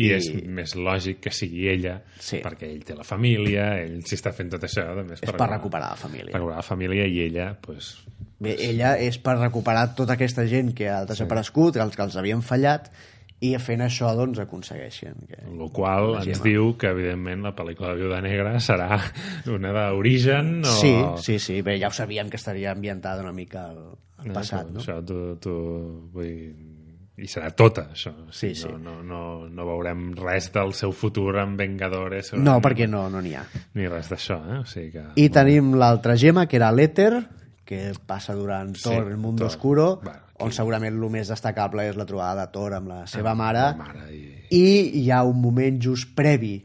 I és més lògic que sigui ella,
Sí.
perquè ell té la família, ell s'hi està fent tot això, també és,
és per recuperar la família.
recuperar la família i ella, doncs,
Bé, ella és per recuperar tota aquesta gent que ha desaparegut, els que els havien fallat, i fent això, doncs, aconsegueixen. Que...
el qual ens diu que, evidentment, la pel·lícula de Viuda Negra serà una d'origen o...
Sí, sí, sí. Bé, ja ho sabíem que estaria ambientada una mica al, al passat, no?
Això, tu, tu, vull dir, i serà tota, això. O sigui,
Sí, sí.
No, no, no, no veurem res del seu futur amb Vengadores o
No, perquè no no n'hi ha.
ni res d'això, eh? O sigui que...
I tenim l'altra gema, que era l'Éter, que passa durant
Sí,
Thor, el Mundo
Thor.
Oscuro,
Bueno, aquí- Ah,
on segurament el més destacable és la trobada de Thor amb la seva mare,
La mare i...
i hi ha un moment just previ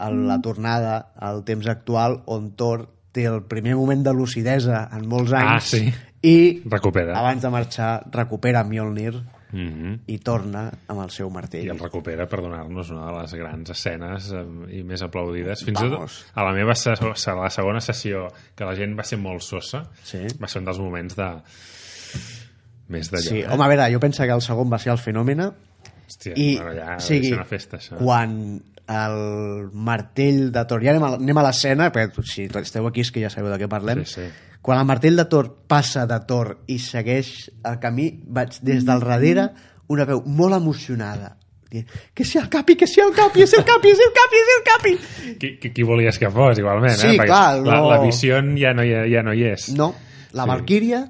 a la tornada al temps actual on Thor té el primer moment de lucidesa en molts
Ah,
anys
sí.
i
Recupera.
abans de marxar recupera Mjolnir
Mm
i torna amb el seu martell.
I el recupera per donar-nos una de les grans escenes eh, i més aplaudides. Fins i tot
Vamos.
a la meva se a la segona sessió, que la gent va ser molt sosa,
Sí.
va ser un dels moments de... Més d'allò.
Sí,
eh?
home, a veure, jo penso que el segon va ser el fenòmena
Hòstia,
i
bueno, ja
o
va
sigui,
ser una festa, això. eh?
quan el martell de Thor, ja anem a, anem a l'escena perquè si esteu aquí és que ja sabeu de què parlem
Sí, sí.
quan el martell de Thor passa de Thor i segueix el camí vaig des del darrere una veu molt emocionada dient, que si el capi, que si el capi, és el capi, és el capi, és el capi
Qui, qui, qui volies que fos, igualment,
Sí,
eh? Perquè
clar,
la,
no.
la visió ja no hi, ja no hi és.
no, la
Sí.
Valkyria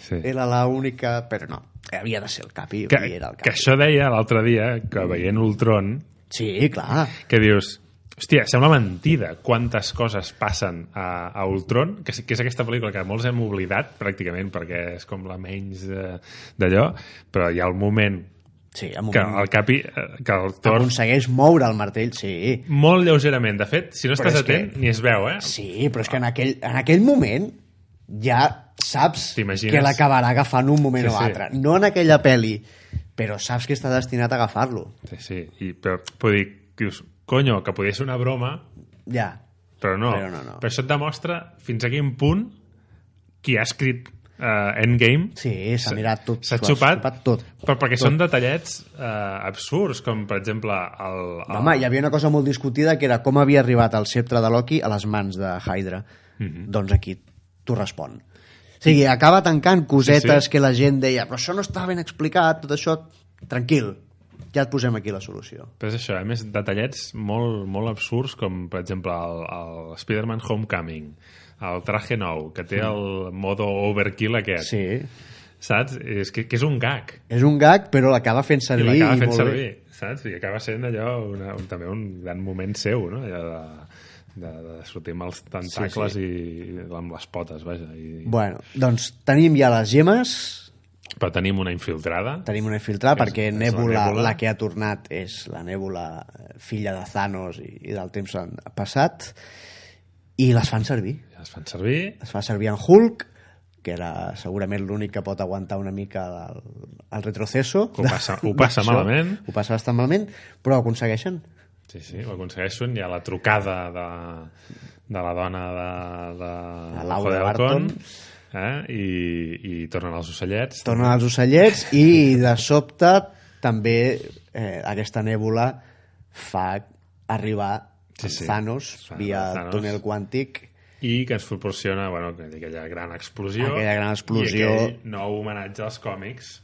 Sí.
era la única però no, havia de ser el capi
Que,
i era el
que
capi
això deia l'altre dia, que veient Ultron,
sí, clar
que dius... Hòstia, sembla mentida quantes coses passen a, a Ultron, que, sí- que és aquesta pel·lícula que molts hem oblidat, pràcticament, perquè és com la menys eh, d'allò, però hi ha el moment
sí, en un
que
moment
el Capi, eh, que el Thor,
aconsegueix moure el martell, sí.
molt lleugerament, de fet, si no
Però
estàs
és que-
atent, ni es veu, eh?
Sí, però és que en aquell, en aquell moment ja saps
T'imagines?
que l'acabarà agafant un moment
Sí,
sí, o
sí.
altre. No en aquella peli, però saps que està destinat a agafar-lo.
Sí, sí. I, però, vull dir, dius, conyo, que podria ser una broma,
Ja.
Però no.
Però no, no.
Però això et demostra fins a quin punt qui ha escrit eh, Endgame
Sí, s'ha mirat tot.
s'ha
s'ho ha
xupat,
tot.
Però perquè són detallets eh, absurds, com per exemple el... el...
Home, hi havia una cosa molt discutida que era com havia arribat el sceptre de Loki a les mans de Hydra.
Mhm.
Doncs aquí t'ho respon. O sigui, acaba tancant cosetes
Sí, sí.
que la gent deia però això no està ben explicat, tot això... Tranquil, ja et posem aquí la solució.
Però és això, a més, detallets molt, molt absurds, com per exemple el, el Spider-Man Homecoming, el traje nou, que té el modo overkill aquest,
Sí.
saps? És que, que és un gag.
És un gag, però l'acaba fent
I
servir.
l'acaba fent
molt bé.
servir, saps? I acaba sent allò una, un, també un gran moment seu, no? Allò de, de, de sortir amb els tentacles sí, sí. i amb les potes, vaja. I...
Bueno, doncs tenim ja les gemes,
Però tenim una infiltrada.
tenim una infiltrada,
És-
perquè
és la
Nébula, la,
Nébula.
que ha tornat, és la Nébula eh, filla de Thanos i, i del temps en- passat, i les fan servir.
Es fan servir.
Es fa servir en Hulk, que era segurament l'únic que pot aguantar una mica el, el retroceso.
Ho passa- ho passa
d'això.
malament.
Ho passa bastant malament, però ho aconsegueixen.
Sí, sí, ho aconsegueixen. Hi ha la trucada de, de la dona de... de
La Laura
Ojo de
Barton.
Halcón, Eh? I, I tornen els ocellets.
tornen els ocellets i de sobte també eh, aquesta nèbula fa arribar
Sí, sí.
Thanos
Fa
via
Thanos.
túnel quàntic
I que ens proporciona bueno, aquella gran explosió.
Aquella gran explosió.
I aquell nou homenatge als còmics.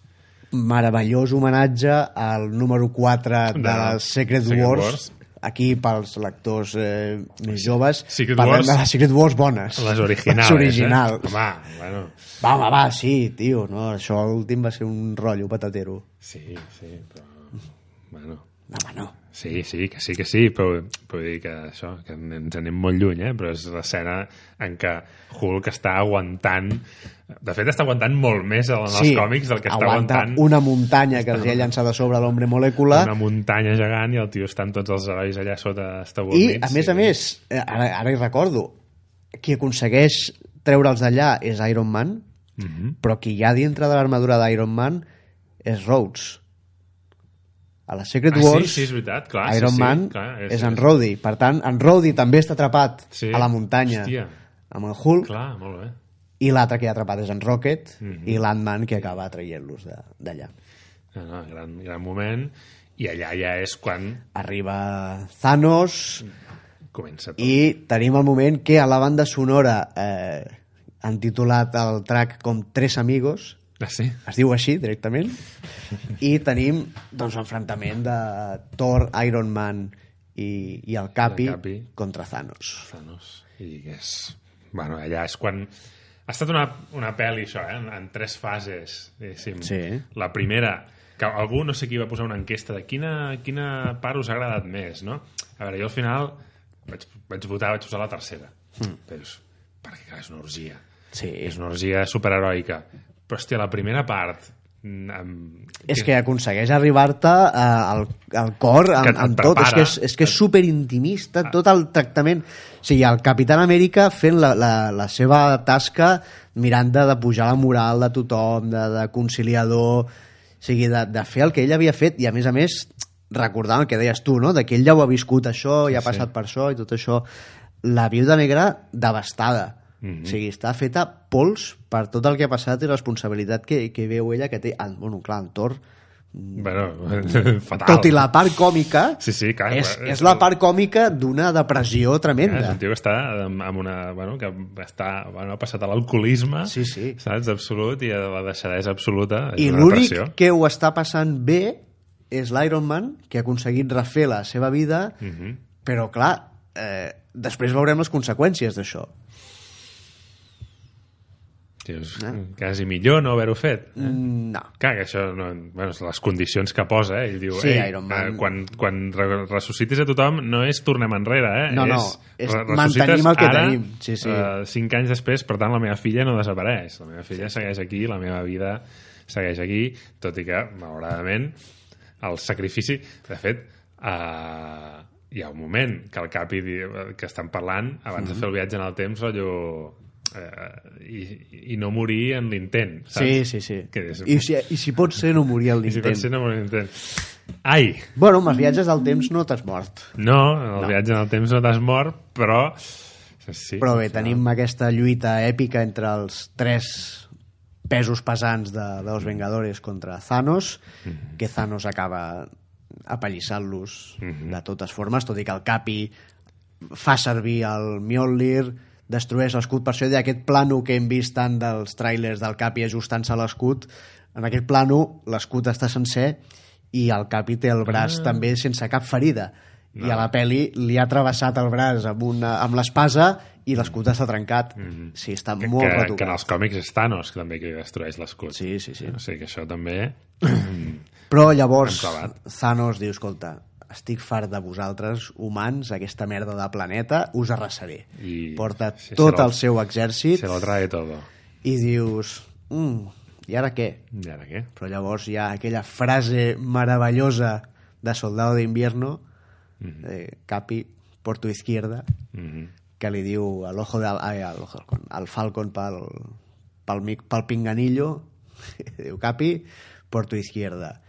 meravellós homenatge al número 4 de,
De
la Secret,
Secret
Wars.
Wars.
aquí pels lectors eh, més joves
Secret
parlem
Wars.
de les Secret Wars bones
Les originals.
les originals.
Eh? Home, bueno,
va, va, va, sí, tio no, això últim va ser un rotllo patatero
sí, sí, però... Bueno,
no, home, no
Sí, sí, que sí, que sí, però vull dir que això, que ens anem molt lluny, eh? però és l'escena en què Hulk està aguantant, de fet està aguantant molt més en els còmics del que està
aguanta
aguantant
una muntanya que els hi ha llançat a sobre l'Hombre Molècula
una muntanya gegant i el tio estan tots els herois allà sota
i,
establits.
a més a més, eh, ara, ara hi recordo, qui aconsegueix treure'ls d'allà és Iron Man,
Mm -hmm.
però qui hi ha dintre de l'armadura d'Iron Man és Rhodes. A la Secret
Ah, sí,
Wars,
sí, és veritat, clar.
Iron
sí, sí,
Man
clar,
és, en Rhodey. Per tant, en Rhodey també està atrapat
Sí.
a la muntanya
Hòstia.
amb el Hulk,
Clar, Mhm. molt bé.
i l'altre que hi ha atrapat és en Rocket, i l'Ant-Man que acaba traient-los de- d'allà.
No, no, gran, gran moment. I allà ja és quan
Arriba Thanos,
Mhm. comença tot.
i tenim el moment que a la banda sonora eh, han titulat el track com Tres Amigos,
Ah, sí?
es diu així directament i tenim doncs l'enfrontament de Thor, Iron Man i, i el Capi,
El Capi.
contra Thanos
Thanos. I és... Bueno, allà és quan... Ha estat una, una pel·li, això, eh? en, en tres fases, diguéssim.
Sí.
La primera, que algú, no sé qui, va posar una enquesta de quina, quina part us ha agradat més, no? A veure, jo al final vaig, vaig votar, vaig posar la tercera. Mm. Però, és- perquè, clar, és una orgia.
Hmm. sí.
És una orgia superheroica. Però, hòstia, la primera part... mm, Amb...
és que aconsegueix arribar-te eh, al, al cor
Que
amb,
et Ah.
amb tot, és
prepara.
que és, és, que és superintimista tot el tractament o sigui, el Capitán Amèrica fent la, la, la seva tasca mirant de, de pujar la moral de tothom de, de conciliador o sigui, de, de fer el que ell havia fet i a més a més recordant el que deies tu no? de que ell ja ho ha viscut això, ja ha passat per això i tot això la viuda negra devastada
Mhm.
Mm -hmm. O sigui, està feta pols per tot el que ha passat i responsabilitat que, que veu ella que té... El, bueno, clar, el Thor
Bueno, fatal.
tot i la part còmica,
Sí, sí, clar.
és,
clar,
és la part còmica d'una depressió
Eh, és
tremenda.
un tio que està amb amb una... Bueno, que està, bueno, ha passat a l'alcoholisme,
Sí, sí.
saps? Absolut, i a la deixadesa absoluta. És
I
una
l'únic
depressió.
que ho està passant bé és l'Iron Man, que ha aconseguit refer la seva vida,
Mm -hmm.
però clar, eh, després veurem les conseqüències d'això.
Dius,
Ah.
quasi millor no haver-ho fet.
Mm, No.
Clar, que això, no, bueno, és les condicions que posa, eh? ell diu,
Sí,
"Ei,
Iron Man."
eh, quan, quan re ressuscitis a tothom no és tornem enrere, eh?
No, no, és
és re-
mantenim
ressuscites
el que
ara,
tenim. Sí, sí.
eh, cinc anys després, per tant, la meva filla no desapareix. La meva filla segueix aquí, la meva vida segueix aquí, tot i que, malauradament, el sacrifici... De fet, eh, hi ha un moment que el Capi diu- que estan parlant
Mm-hmm.
abans de fer el viatge en el temps, allò... Eh, i, i no morir en l'intent saps?
Sí, sí, sí.
Que és-
I si, I si pot ser, no morir en
I si pot ser,
l'intent.
no me l'intent. Ai!
Bueno, amb els viatges del temps no t'has mort.
No, en el viatge en el temps no t'has mort, però... Sí,
Però bé, tenim aquesta lluita èpica entre els tres pesos pesants de, dels Vengadores contra Thanos, que Thanos acaba apallissant-los de totes formes, tot i que el Capi fa servir el Mjolnir, destrueix l'escut, per això hi ha aquest plano que hem vist tant dels trailers del Capi ajustant-se a l'escut, en aquest plano l'escut està sencer i el Capi té el braç també sense cap ferida. I a la peli li ha travessat el braç amb, una, amb l'espasa i l'escut està trencat. Sí, està
Mm-hmm. que,
molt
que, que en
retocat.
els còmics és Thanos, que també que destrueix l'escut.
Sí, sí, sí.
O sigui que això també...
Però llavors
Hem clavat.
Thanos diu, escolta, estic fart de vosaltres, humans, aquesta merda de planeta, us arrasaré.
I-
Porta
sí,
tot
serà-
el seu exèrcit
Se lo trae todo.
i dius mm, i ara què?
I ara què?
però llavors hi ha aquella frase meravellosa de Soldado de Invierno
Mm-hmm.
eh, Capi por tu izquierda
Mm -hmm.
que li diu al ojo de, ai, al ojo del con, al Falcon pel, pel, mic- pel pinganillo diu Capi por tu izquierda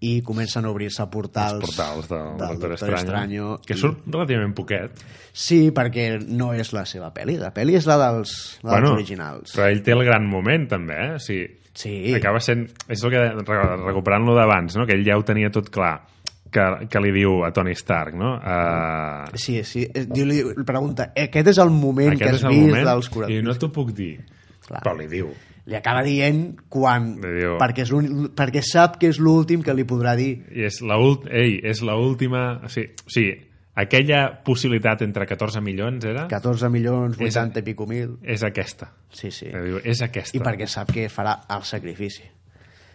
i comencen a obrir-se portals,
Els portals del,
del
Doctor,
Doctor Estranyo,
Que
i-
surt relativament poquet.
sí, perquè no és la seva pel·li la pel·li és la dels, la dels originals
Però ell té el gran moment, també, eh? O sigui,
Sí.
Acaba sent... És el que... re- Recuperant-lo d'abans, no? Que ell ja ho tenia tot clar. Que, que li diu a Tony Stark, no? Uh,
Sí, sí. eh, Diu, li diu- pregunta, "Eh, aquest és el moment que has vist dels 40.
I no t'ho puc dir.
Clar.
Però li diu.
Li acaba dient quan...
Li diu-
Perquè, és l'únic- perquè sap que és l'últim que li podrà dir.
I és la ult... Ei, és l'última... O sigui, o sigui, aquella possibilitat entre 14 milions era...
14 milions,
És-
80 i pico mil.
És aquesta.
Sí, sí.
Li diu, és aquesta.
I perquè sap que farà el sacrifici.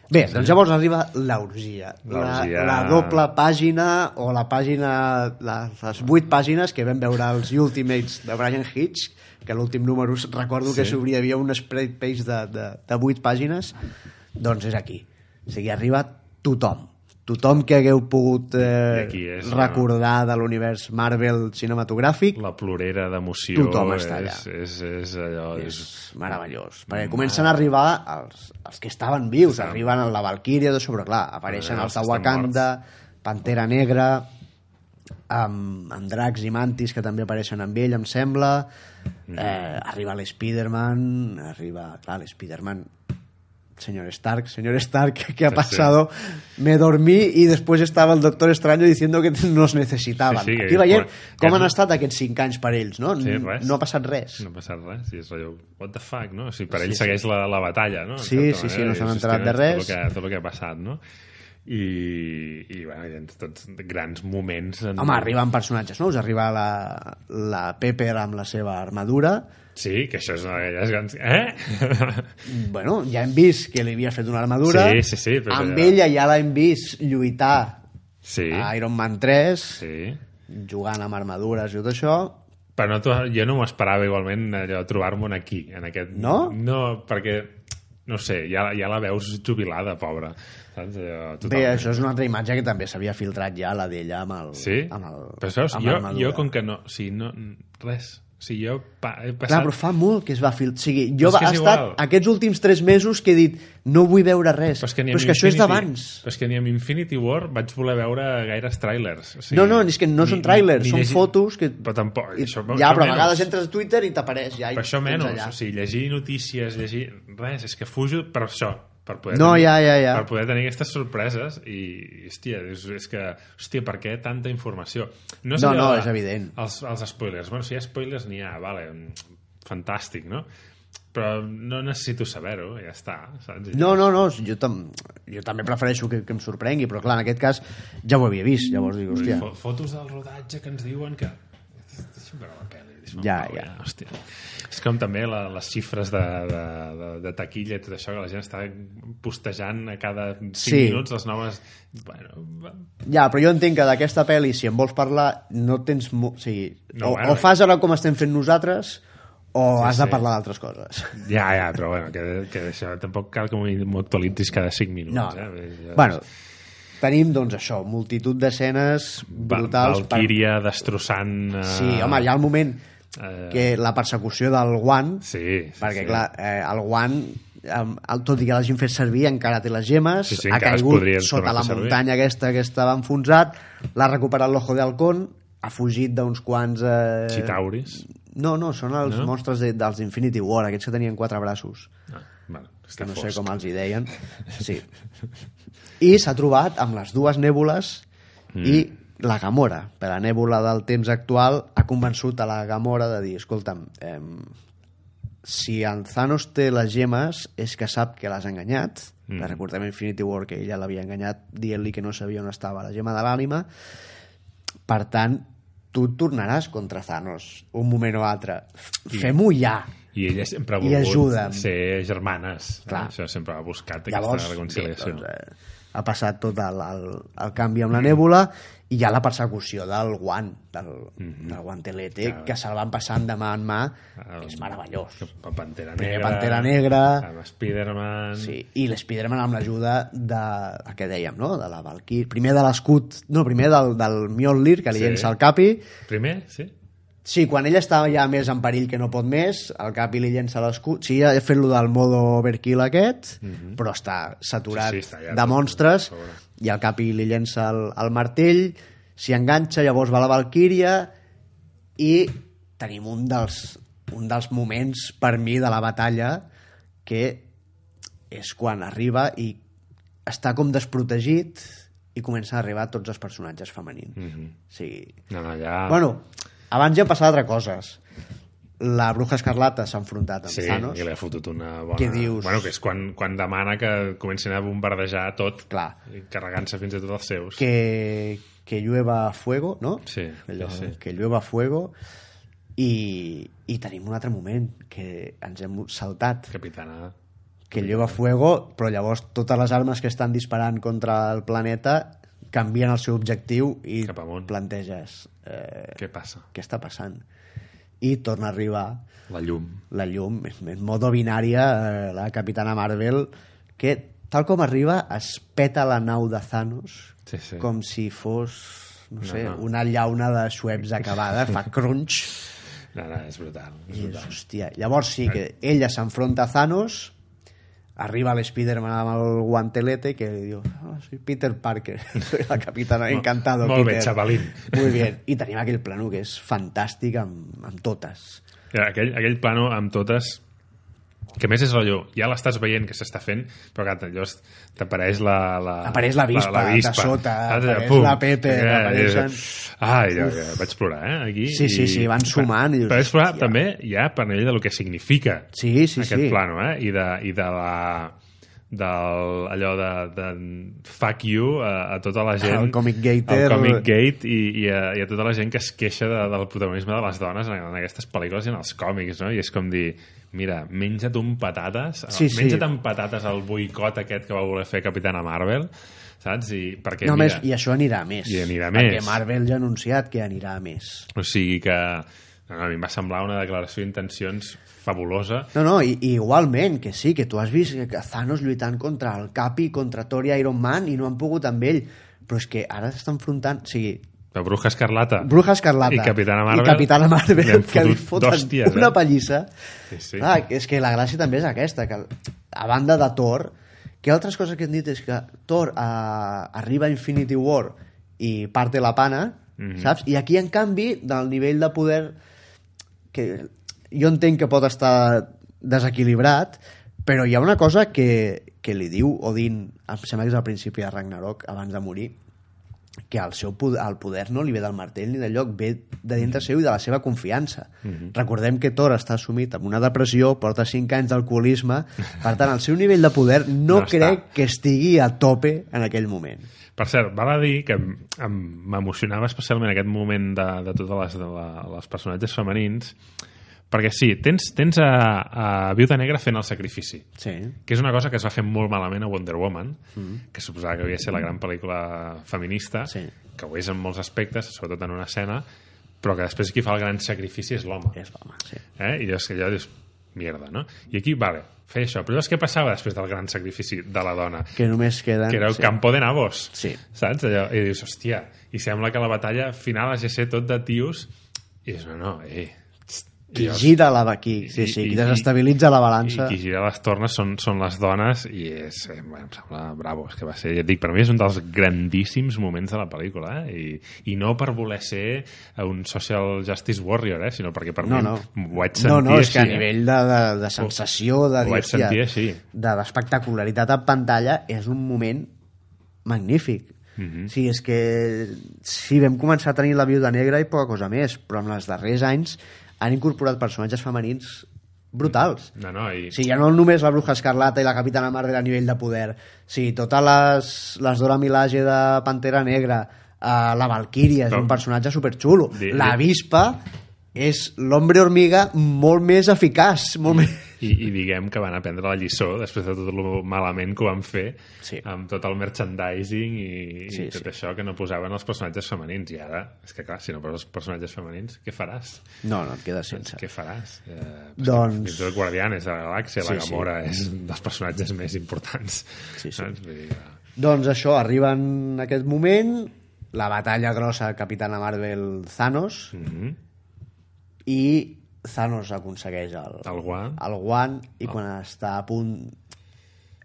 Bé, doncs llavors arriba l'orgia. La,
L'orgia.
la doble pàgina o la pàgina, la, les vuit pàgines que vam veure els Ultimates de Brian Hitch, que l'últim número recordo sí. que s'obria, hi havia un spread page de, de, de vuit pàgines, doncs és aquí. O sigui, arriba tothom. Tothom que hagueu pogut eh,
aquí és, no?
recordar de l'univers Marvel cinematogràfic
La plorera d'emoció
Tothom
és,
està allà.
és, és allò... És...
és meravellós,
Mm.
perquè comencen a arribar els, els que estaven vius, arriben a la Valkyria, de sobre, clar, apareixen
Eh,
els
els
de
que estan
Wakanda, Pantera Negra, amb, amb dracs i mantis que també apareixen amb ell, em sembla,
Mm.
eh, arriba l'Spiderman, arriba, clar, l'Spiderman señor Stark, señor Stark, ¿qué ha
Sí, sí.
pasado? Me dormí y después estaba el Doctor Extraño diciendo que nos necesitaven.
Sí, sí, que-
Aquí veiem
bueno, que
com
és-
han estat aquests cinc anys per ells, no?
Sí, res.
no ha passat res.
No ha passat res, i és allò, what the fuck, no? O sigui, per ell segueix La, la batalla, no? En
Sí,
certa
sí, sí,
manera,
no s'han
dius,
enterat
"Hòstia,
de res".
Tot el que, tot el que ha passat, no? I, i bueno, hi ha tots grans moments... En...
Home, arriben personatges nous, arriba la, la Pepper amb la seva armadura,
Sí, que això és una d'aquelles grans... Eh?
bueno, ja hem vist que li havia fet una armadura,
Sí, sí, sí, però
amb
ja-
ella ja l'hem vist lluitar
sí,
a Iron Man 3,
sí.
jugant amb armadures i tot això,
Però no, t'ho- jo no m'ho esperava igualment allò trobar-me'n aquí, en aquest...
No?
No, perquè, no ho sé, ja, ja la veus jubilada, pobra. Saps? Allò,
Bé,
totalment.
això és una altra imatge que també s'havia filtrat ja, la d'ella amb el...
Sí?
Amb el
però saps,
amb
jo,
l'armadura.
jo com que no... O sigui, no res. O sigui, jo pa, he
Clar,
passat...
però fa molt que es va filtrar. O sigui, jo ha
Però és que és
estat
igual.
aquests últims tres mesos que he dit no vull veure res.
Però és que, ni
però
amb
és que això és
Infinity-
d'abans.
Però és que ni amb Infinity War vaig voler veure gaires trailers. O sigui,
No, no, és que no són
ni-
trailers,
ni
són
llegir-
fotos que-
Però tampoc...
I,
Això,
ja,
això
però a
menys.
vegades entres a Twitter i t'apareix ja. i
Però això
tens
menys,
allà.
o sigui, llegir notícies, llegir... Res, és que fujo per això, per poder,
No, ja, ja, ja.
eh, per poder tenir aquestes sorpreses i, i, hòstia, és, és que, hòstia, per què tanta informació?
No,
No, allò
no,
de-
és evident.
Els, els spoilers, bueno, si hi ha spoilers n'hi ha, vale, mm, fantàstic, no? Però no necessito saber-ho, ja està, saps? I-
No, no, no, jo, tam jo també prefereixo que, que em sorprengui, però clar, en aquest cas ja ho havia vist, llavors dic, hòstia...
Fo- Fotos del rodatge que ens diuen que... Deixa'm veure la pel·li. deixa'm en
Ja,
pau, eh,
ja.
Hòstia. És com també la, les xifres de, de, de, de taquilla i tot això, que la gent està postejant a cada 5
Sí.
minuts les noves... Bueno, va-
Ja, però jo entenc que d'aquesta pel·li, si en vols parlar, no tens... mo- O sigui,
No,
no, o,
bueno, eh.
o fas ara com estem fent nosaltres, o sí, has de
sí.
parlar d'altres coses.
ja, ja, però bueno, que, que això tampoc cal que m'ho actualitzis cada 5 minuts.
No,
eh?
no.
Bé, ja-
Bueno, tenim, doncs, això, multitud d'escenes
Va,
brutals. per-
Valkyria destrossant... eh,
Sí, home, hi ha el moment
eh,
que la persecució del guant
Sí, sí,
perquè
sí.
clar, eh, el guant em- el, tot i que l'hagin fet servir encara té les gemes,
Sí, sí,
ha
encara es
caigut
podria
sota
tornar a
la
fer servir.
muntanya aquesta que estava enfonsat l'ha recuperat l'ojo d'halcón ha fugit d'uns quants eh...
Chitauris.
no, no, són els
No?
monstres de, dels Infinity War, aquests que tenien quatre braços
Ah, bueno, està
que no sé
fosc.
com els hi deien sí. i s'ha trobat amb les dues nèbules i la Gamora, per la nèbula del temps actual, ha convençut a la Gamora de dir, escolta'm, eh, si en Thanos té les gemes és que sap que l'has enganyat mm. recordem a Infinity War que ella l'havia enganyat dient-li que no sabia on estava la gema de l'ànima per tant tu tornaràs contra Thanos un moment o altre fem-ho ja
I ella sempre ha
I ajuda'm.
volgut ser germanes.
Clar.
Clar. Això sempre ha buscat
Llavors,
aquesta reconciliació.
bé, doncs, eh, ha passat tot el, el, el canvi amb la nèbula i hi ha la persecució del guant, del, mm
Mhm.
-hmm. del guantelete, que se'l van passant de mà en mà, que és meravellós.
Pa- Pantera Negra.
Primer Pantera Negra.
Amb Spider-Man.
Sí, i l'Spiderman amb l'ajuda de, el que dèiem, no? de la Valkyrie, primer de l'escut, no, primer del, del Mjolnir, que li
Sí.
llença el capi,
Primer, sí?
Sí, quan ella estava ja més en perill que no pot més, el capi li llença l'escut. Sí, ja he fet lo del modo overkill aquest, però està saturat
Mhm. Sí, sí, està ja
de
tot
monstres,
a sobre.
i el capi li llença el, el martell, s'hi enganxa, llavors va la Valkyria, i tenim un dels, un dels moments, per mi, de la batalla, que és quan arriba i està com desprotegit i comença a arribar tots els personatges femenins. Mm -hmm. O sigui,
Mhm. No, no, ja...
Bueno, abans ja han passat altres coses. La bruja escarlata s'ha enfrontat amb
Sí,
Thanos.
i li ha fotut una bona...
Què dius?
Bueno, que és quan, quan demana que comencin a bombardejar tot,
Clar.
i carregant-se fins a tots els seus.
Que, que llueva fuego, no?
Sí,
Allò,
sí, sí.
Que llueva fuego. I, I tenim un altre moment que ens hem saltat.
Capitana
que lleva fuego, però llavors totes les armes que estan disparant contra el planeta canvien el seu objectiu i
Cap amunt.
planteges eh,
Què passa?
què està passant. I torna a arribar
La llum.
la llum, en modo binària, eh, la Capitana Marvel, que tal com arriba es peta la nau de Thanos
Sí, sí.
com si fos, no sé,
no.
una llauna de sueps acabada, fa crunch.
No, no, és brutal. És
I,
brutal.
hòstia, llavors sí que ella s'enfronta a Thanos, arriba l'Spiderman amb el guantelete que li diu, oh, soy Peter Parker, soy la capitana, encantado,
molt bé,
Peter.
chavalín.
Muy bien. I tenim aquell plano que és fantàstic amb, amb totes.
Aquell, aquell plano amb totes que a més és rotllo, ja l'estàs veient que s'està fent, però clar, llavors t'apareix la, la...
Apareix la vispa de sota, apareix la Pepe, apareixen-
Ah, ja, ja, vaig plorar, eh, aquí.
Sí, sí, sí, van sumant i dius,
Però vaig plorar
hòstia.
també ja per nivell del que significa
Sí, sí,
aquest
sí.
plano, eh, i de, i de la del, allò de, de fuck you a, a tota la gent
El Comic Gator.
el Comic Gate i, i, a, i a tota la gent que es queixa de, del protagonisme de les dones en, en aquestes pel·lícules i en els còmics, no? I és com dir, mira, menja't un patates, eh,
Sí, sí.
menja't amb patates el boicot aquest que va voler fer Capitana Marvel, saps? I, perquè,
No, a més,
mira,
I això anirà a més.
I anirà a
perquè
més.
Marvel ja ha anunciat que anirà a més.
o sigui que no, no, a mi em va semblar una declaració d'intencions fabulosa
No, no, i, i igualment, que sí, que tu has vist que Thanos lluitant contra el Capi, contra Thor i Iron Man, i no han pogut amb ell. Però és que ara s'està enfrontant... O sigui,
de Bruja Escarlata.
Bruja Escarlata
I Capitana Marvel.
i Capitana Marvel
Li han
que li
fotut
foten
d'hòsties, eh?
una pallissa
Sí, sí.
Ah, és que la gràcia també és aquesta que a banda de Thor que altres coses que hem dit és que Thor eh, arriba a Infinity War i parte la pana
Mhm.
saps? i aquí en canvi del nivell de poder que jo entenc que pot estar desequilibrat però hi ha una cosa que, que li diu Odin, em sembla que és al principi de Ragnarok abans de morir que el seu poder, el poder no li ve del martell ni del lloc, ve de dintre seu i de la seva confiança.
Mhm.
Recordem que Thor està assumit amb una depressió, porta 5 anys d'alcoholisme, per tant, el seu nivell de poder no,
No està.
crec que estigui a tope en aquell moment.
Per cert, val a dir que em- em- m'emocionava especialment aquest moment de, de totes les, de la, les personatges femenins, perquè sí, tens, tens a, a Viuda Negra fent el sacrifici,
Sí.
que és una cosa que es va fer molt malament a Wonder Woman, mm. que suposava que havia de ser la gran pel·lícula feminista,
Sí.
que ho és en molts aspectes, sobretot en una escena, però que després qui fa el gran sacrifici és l'home.
És l'home, sí.
Eh? I llavors que allò dius, mierda, no? I aquí, vale, feia això. Però llavors què passava després del gran sacrifici de la dona?
Que només queden...
que era el
sí.
campo de nabos.
Sí.
Saps? Allò, I dius, hòstia, i sembla que la batalla final hagi de ser tot de tios. I dius, no, no, eh.
Qui gira la... Qui,
I-
sí, sí,
i-
qui desestabilitza la
I
balança.
qui gira les tornes són, són les dones i és, eh, bueno, em sembla bravo, és que va ser, ja et dic, per mi és un dels grandíssims moments de la pel·lícula, eh? I, i no per voler ser un social justice warrior, eh? sinó perquè per
No,
mi
no.
ho vaig sentir
No, no, és
així,
que a
eh?
nivell de, de, de sensació, de,
Ho
dir,
vaig
hòstia,
sentir així.
de l'espectacularitat en pantalla, és un moment magnífic.
Mhm.
Mm -hmm. Sí, és que sí, vam començar a tenir la viuda negra i poca cosa més, però en els darrers anys han incorporat personatges femenins brutals.
No, no, i...
Sí, ja no només la Bruja Escarlata i la Capitana Marvel a nivell de poder, sí, totes les, les Dora Milaje de Pantera Negra, eh, la Valkyria és
No.
un personatge superxulo,
Di- di-
la Vispa és l'hombre hormiga molt més eficaç, molt més...
I, i diguem que van aprendre la lliçó després de tot el malament que ho van fer
Sí.
amb tot el merchandising i,
Sí,
i tot
sí.
això que no posaven els personatges femenins i ara, és que clar, si no poses els personatges femenins què faràs?
No, no et quedes sense.
Què faràs? Eh,
Doncs-
Fins i tot Guardianes de la Galàxia, sí,
Sí,
la
sí.
Gamora sí. és un dels personatges més importants.
Sí, sí.
Saps? Vull dir, que-
Doncs això, arriba en aquest moment la batalla grossa Capitana Marvel Thanos
Mhm.
i Thanos aconsegueix el,
eh, El guant.
el guant
Ah.
i quan està a punt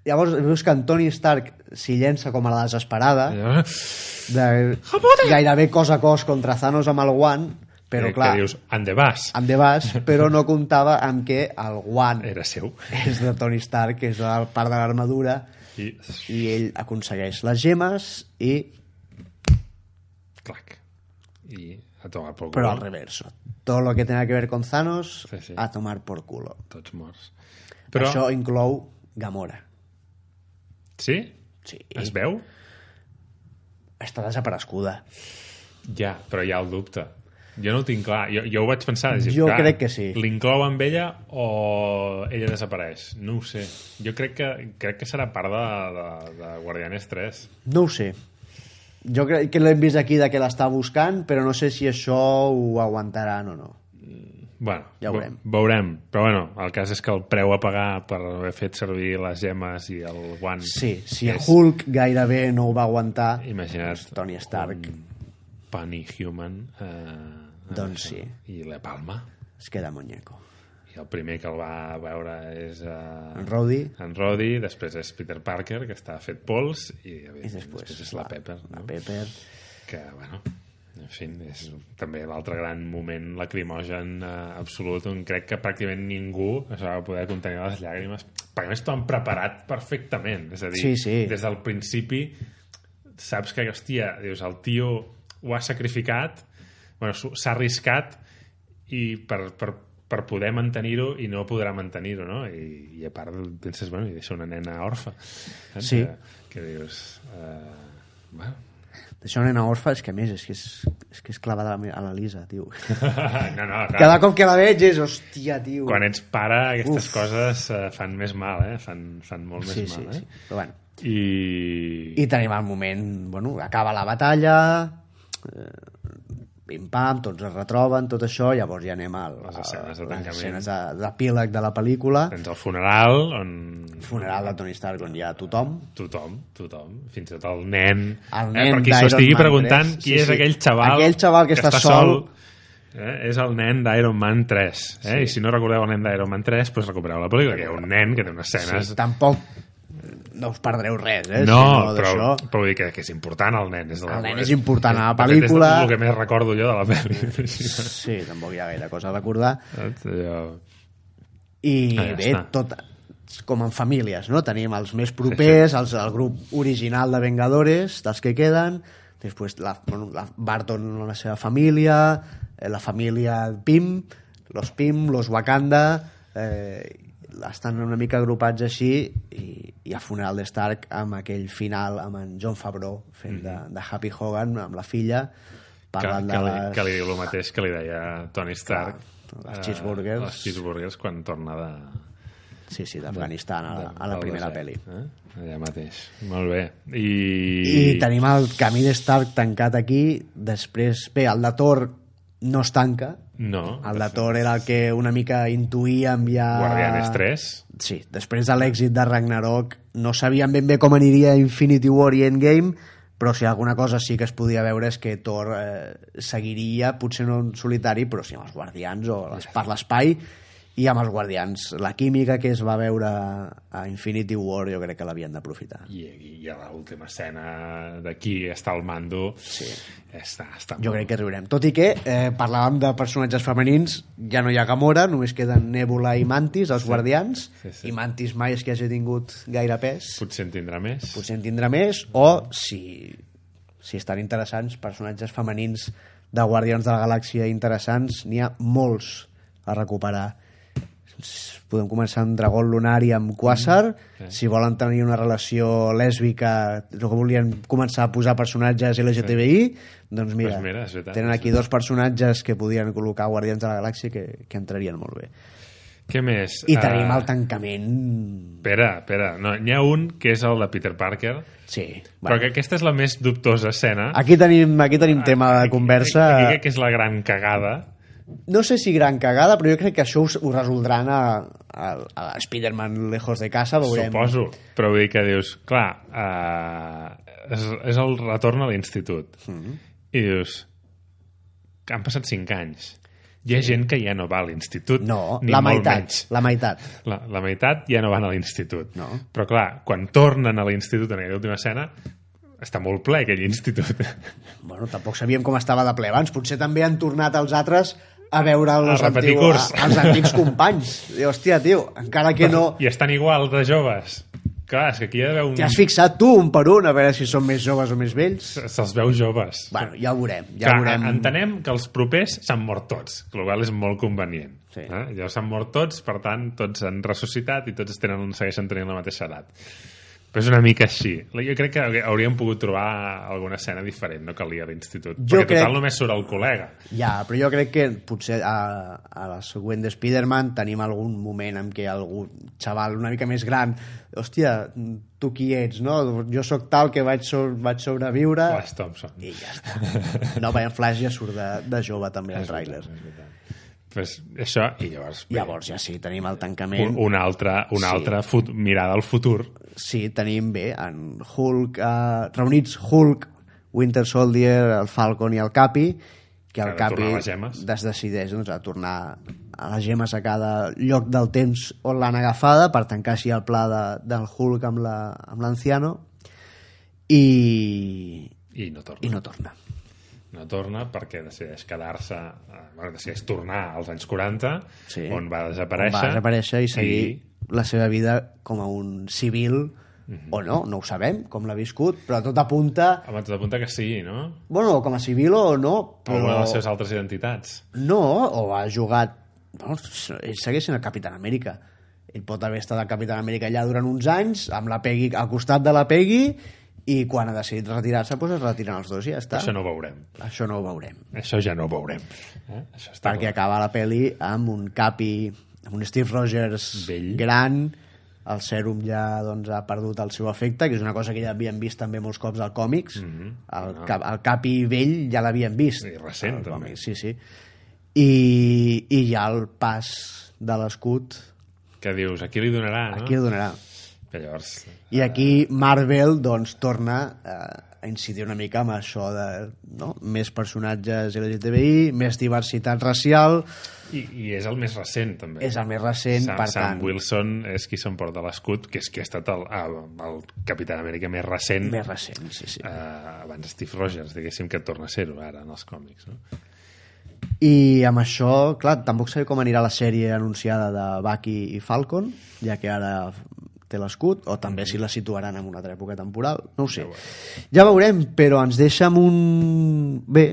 llavors veus que en Tony Stark s'hi llença com a la desesperada
Allò-
de gairebé cos a cos contra Thanos amb el guant però
que-
clar, Ah.
Que dius, and the bus.
amb de bas però no comptava amb que el guant
Era seu.
és de Tony Stark és de la part de l'armadura
I,
i ell aconsegueix les gemes i
clac. I a tomar pel
però
cul.
al reverso tot lo que tenga que ver con Thanos
Sí, sí.
a tomar por culo
Tots morts.
però...
Però,
això inclou Gamora
sí?
sí,
Es veu?
està desaparescuda
Ja, però hi ha el dubte. Jo no ho tinc clar. Jo, jo ho vaig pensar. Dic,
Jo
clar,
crec que sí.
L'inclou amb ella o ella desapareix? No ho sé. Jo crec que, crec que serà part de, de, de Guardianes 3.
No ho sé. Jo crec que l'hem vist aquí de que l'està buscant, però no sé si això ho aguantaran o no.
Bueno,
Ja ho
ve-
veurem.
Veurem. Però bueno, el cas és que el preu a pagar per haver fet servir les gemes i el guant...
Sí, si
és,
Hulk gairebé no ho va aguantar,
Imagina't Mm.
Tony Stark
un Penny Human... Eh,
Doncs
eh,
sí.
I la Palma.
es queda muñeco.
I el primer que el va veure és... Eh,
En Rhodey,
en Roddy, després és Peter Parker, que està fet pols, i,
i després,
després és la Pepper,
La
no?
Pepper.
que, bueno, en fi, és també l'altre gran moment lacrimogen eh, absolut on crec que pràcticament ningú es va poder contenir les llàgrimes perquè a més t'ho han preparat perfectament és a dir,
Sí, sí.
des del principi saps que, hòstia, dius, el tio ho ha sacrificat bueno, s'ho- s'ha arriscat i per, per, per poder mantenir-ho i no podrà mantenir-ho, no? I, I a part penses, bueno, i deixa una nena orfa. saps?
Sí.
Que, que dius... Eh, bueno,
Deixar una nena orfa és que a més, és que és, és, que és clavada a la- a la Lisa, tio.
no, no, clar.
Cada cop que la veig és, hòstia, tio.
Quan ets pare, aquestes
Uf.
coses eh, fan més mal, eh? Fan, fan molt
sí,
més
sí, sí.
mal, eh?
Però bueno,
I...
I tenim el moment, bueno, acaba la batalla, eh, pim-pam, tots es retroben, tot això, llavors ja anem al,
Les escenes de
a
tancament.
les escenes de, d'epíleg de la pel·lícula,
Tens el funeral on
funeral de Tony Stark on hi ha tothom,
tothom, tothom, fins i tot el nen,
El
eh,
nen
per qui s'ho
d'Iron
estigui
Man 3.
preguntant qui
Sí,
és
sí.
aquell xaval,
Aquell xaval que està sol.
eh, és el nen d'Iron Man 3 eh? i si no recordeu el nen d'Iron Man 3 doncs recupereu la pel·lícula, que hi ha un nen que té unes escenes
sí, tampoc eh, no us perdreu res, eh?
No,
si no
però,
d'això.
però vull dir que, que és important el nen. És de la,
El nen és important a la
de fet,
pel·lícula.
És el que més recordo jo de la pel·li.
Sí, tampoc hi ha gaire cosa a recordar.
Saps? Allò...
I
Ah, ja
bé,
està.
tot com en famílies, no? Tenim els més propers, els, el grup original de Vengadores, dels que queden, després la, bueno, la Barton amb la seva família, eh, la família Pym, los Pym, los Wakanda, eh, estan una mica agrupats així i, i a funeral de Stark amb aquell final amb en John Favreau fent de, de Happy Hogan amb la filla
Que,
parlant
Mm-hmm. que, li,
de
que li
les,
diu el mateix que li deia Tony Stark.
Clar, les
eh,
cheeseburgers.
les cheeseburgers quan torna de...
sí, sí, d'Afganistan a, la- a la
del
primera
desert,
pel·li
Eh? Allà mateix. Molt bé. I...
I tenim el camí de Stark tancat aquí, després, bé, el de Thor no es tanca,
No.
el de Thor era el que una mica intuïem ja...
Guardianes 3.
Sí, després de l'èxit de Ragnarok no sabíem ben bé com aniria Infinity War i Endgame, però si alguna cosa sí que es podia veure és que Thor eh, seguiria, potser no en solitari, però sí amb els Guardians o les, per l'espai, i amb els Guardians. La química que es va veure a Infinity War jo crec que l'havien d'aprofitar.
I, i, i a l'última escena d'aquí està el mando. Sí. Està, està
Jo crec que riurem. Tot i que eh, parlàvem de personatges femenins, ja no hi ha Gamora, només queden Nebula i Mantis, els guardians,
Sí, sí.
i Mantis mai és que hagi tingut gaire pes,
Potser en tindrà més.
potser en tindrà més, o si, si estan interessants, personatges femenins de Guardians de la Galàxia interessants, n'hi ha molts a recuperar. Podem començar amb Dragon Lunar i amb Quasar. Si volen tenir una relació lèsbica, o que volien començar a posar personatges LGTBI, doncs mira,
Doncs mira, és veritat,
tenen
és
aquí dos personatges que podien col·locar a Guardians de la Galàxia que, que entrarien molt bé.
Què més?
I
Eh,
tenim el tancament...
Espera, espera. No, n'hi ha un que és el de Peter Parker,
Sí.
però
bueno.
que aquesta és la més dubtosa escena.
Aquí tenim, aquí tenim tema de conversa.
Aquí crec que és la gran cagada.
No sé si gran cagada, però jo crec que això ho, ho resoldran a, a, a Spider-Man Lejos de Casa, veurem.
Suposo. Però vull dir que dius, clar, eh, és, és el retorn a l'institut. I dius, que han passat 5 anys. Hi ha gent que ja no va a l'institut.
No,
ni
la
molt
meitat,
menys.
la meitat.
La, la meitat ja no van a l'institut.
No.
Però clar, quan tornen a l'institut en aquella última escena, està molt ple aquell institut.
Bueno, tampoc sabíem com estava de ple abans. Potser també han tornat els altres a veure els,
repetir curs.
a, els antics companys. I, hòstia, tio, encara que no...
I estan igual de joves. Clar, és que aquí hi ha d'haver un...
T'hi has fixat tu un per un, a veure si són més joves o més vells?
Se'ls veu joves.
Bueno, ja ho veurem, ja
Clar,
ho veurem.
eh, Entenem que els propers s'han mort tots, que el qual és molt convenient.
Sí.
Eh? Ja s'han mort tots, per tant, tots han ressuscitat i tots tenen, segueixen tenint la mateixa edat. Però és una mica així. Jo crec que hauríem pogut trobar alguna escena diferent, no calia l'institut.
Jo
Perquè
crec-
total només surt el col·lega.
Ja, però jo crec que potser a, a la següent de Spider-Man tenim algun moment en què algun xaval una mica més gran hòstia, tu qui ets, no? Jo sóc tal que vaig, so vaig sobreviure
Flash Thompson.
i ja està. No, Brian Flash ja surt de, de jove també al tràiler.
Pues això, i llavors... bé,
Llavors ja sí, tenim el
un-
tancament.
Una altra, una
Sí.
altra fut, mirada al futur.
Sí, tenim bé en Hulk, eh, reunits Hulk, Winter Soldier, el Falcon i el Capi, que el
Ha de
Capi
tornar a les gemes.
es decideix doncs, a tornar a les gemes a cada lloc del temps on l'han agafada per tancar així el pla de, del Hulk amb la- amb l'anciano la, i,
I no torna.
i no torna.
no torna perquè decideix quedar-se, eh, bueno, decideix tornar als anys 40,
Sí.
on va
On
desaparèixer.
va desaparèixer i seguir la seva vida com a un civil
Mhm.
o no, no ho sabem com l'ha viscut, però tot apunta
Home, tot apunta que sí, no?
bueno, com a civil o no
Però... O una
però...
de les seves altres identitats.
No, o ha jugat... Bueno, ell segueix sent el Capitán Amèrica. Ell pot haver estat el Capitán Amèrica allà durant uns anys, amb la Peggy, al costat de la Peggy, i quan ha decidit retirar-se, doncs es retiren els dos i ja està.
Això no ho veurem.
Això no ho veurem.
Això ja no ho veurem. Eh? Això està
Perquè acaba la peli amb un capi, amb un Steve Rogers
Vell.
gran, el sèrum ja doncs, ha perdut el seu efecte, que és una cosa que ja havíem vist també molts cops al còmics.
Mhm.
el, cap, el capi vell ja l'havíem vist.
I Ah. recent,
al
també.
còmic, Sí, sí. I, I ja el pas de l'escut,
Que dius, aquí li donarà, no?
aquí el donarà.
Que llavors...
I aquí Marvel doncs, torna eh, a incidir una mica amb això de no? més personatges LGTBI, més diversitat racial,
I, I és el més recent, també.
és el més recent,
Sam,
per
Sam
tant...
Wilson és qui s'emporta l'escut, que és qui ha estat el, el, el Capità d'Amèrica més recent
Més recent, sí, sí.
eh, abans Steve Rogers, diguéssim que torna a ser-ho ara en els còmics. No?
I amb això, clar, tampoc sé com anirà la sèrie anunciada de Bucky i Falcon, ja que ara té l'escut, o també si la situaran en una altra època temporal, no ho sé. Ja veurem, però ens deixa amb un... Bé,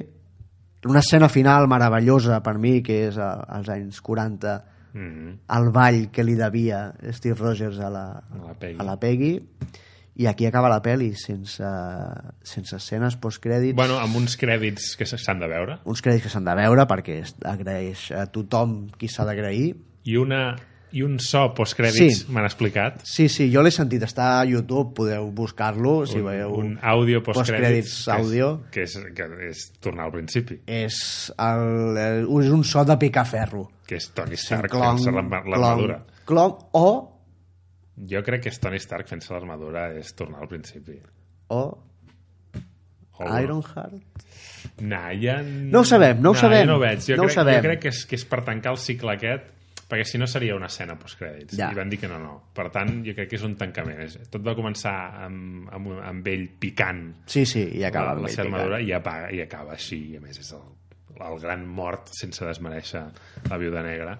una escena final meravellosa per mi, que és a, als anys 40,
Mm -hmm.
el ball que li devia Steve Rogers a la,
A la Peggy.
a la Peggy i aquí acaba la peli sense, sense escenes postcrèdits
Bueno, amb uns crèdits que se- s'han de veure
uns crèdits que s'han de veure perquè es- agraeix a tothom qui s'ha d'agrair.
i, una, i un so postcrèdits,
Sí.
sí. m'han explicat.
Sí, sí, jo l'he sentit, està a YouTube, podeu buscar-lo si veieu.
un àudio postcrèdits.
postcrèdits àudio.
Que és, que, és, que és tornar al principi,
És, el, eh, és un so de picaferro.
que és Tony
Fent
Stark fent-se l'arma- l'armadura.
clon, o,
Jo crec que és Tony Stark fent-se l'armadura és tornar al principi.
o
O-
Ironheart.
Nah, ja... n-
No ho sabem, no ho
nah,
sabem.
Jo no ho veig. Jo,
No ho
crec,
sabem.
jo crec que és, que és per tancar el cicle aquest, perquè si no seria una escena postcrèdits.
Ja.
Ja. I van dir que no, no. Per tant, jo crec que és un tancament. És- Tot va començar amb, amb, amb ell picant
Sí, sí, i acaba.
la,
amb
la
ell
seva
picant.
armadura i, apaga, i acaba així. I a més és el, el gran mort sense desmereixer la viuda negra.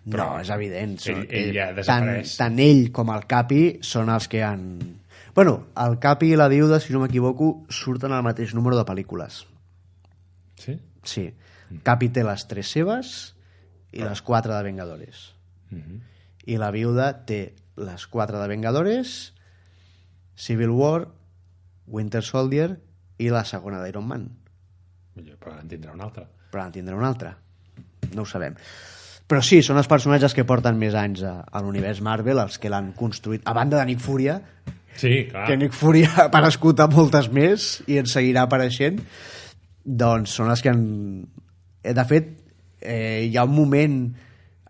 Però no, és evident. són-
ell- ell ja
tant,
desapareix.
tant ell com el Capi són els que han... Bueno, el Capi i la Viuda, si no m'equivoco, surten al mateix número de pel·lícules.
Sí?
Sí. Capi té les tres seves i les quatre de Vengadores.
Mhm.
I la viuda té les quatre de Vengadores, Civil War, Winter Soldier i la segona d'Iron Man.
Millor, però en tindrà una altra.
Però en tindrà una altra. No ho sabem. Però sí, són els personatges que porten més anys a, a l'univers Marvel, els que l'han construït, a banda de Nick Furia,
Sí, clar.
que Nick Fury ha aparegut a moltes més i en seguirà apareixent doncs són les que han... eh, de fet eh, hi ha un moment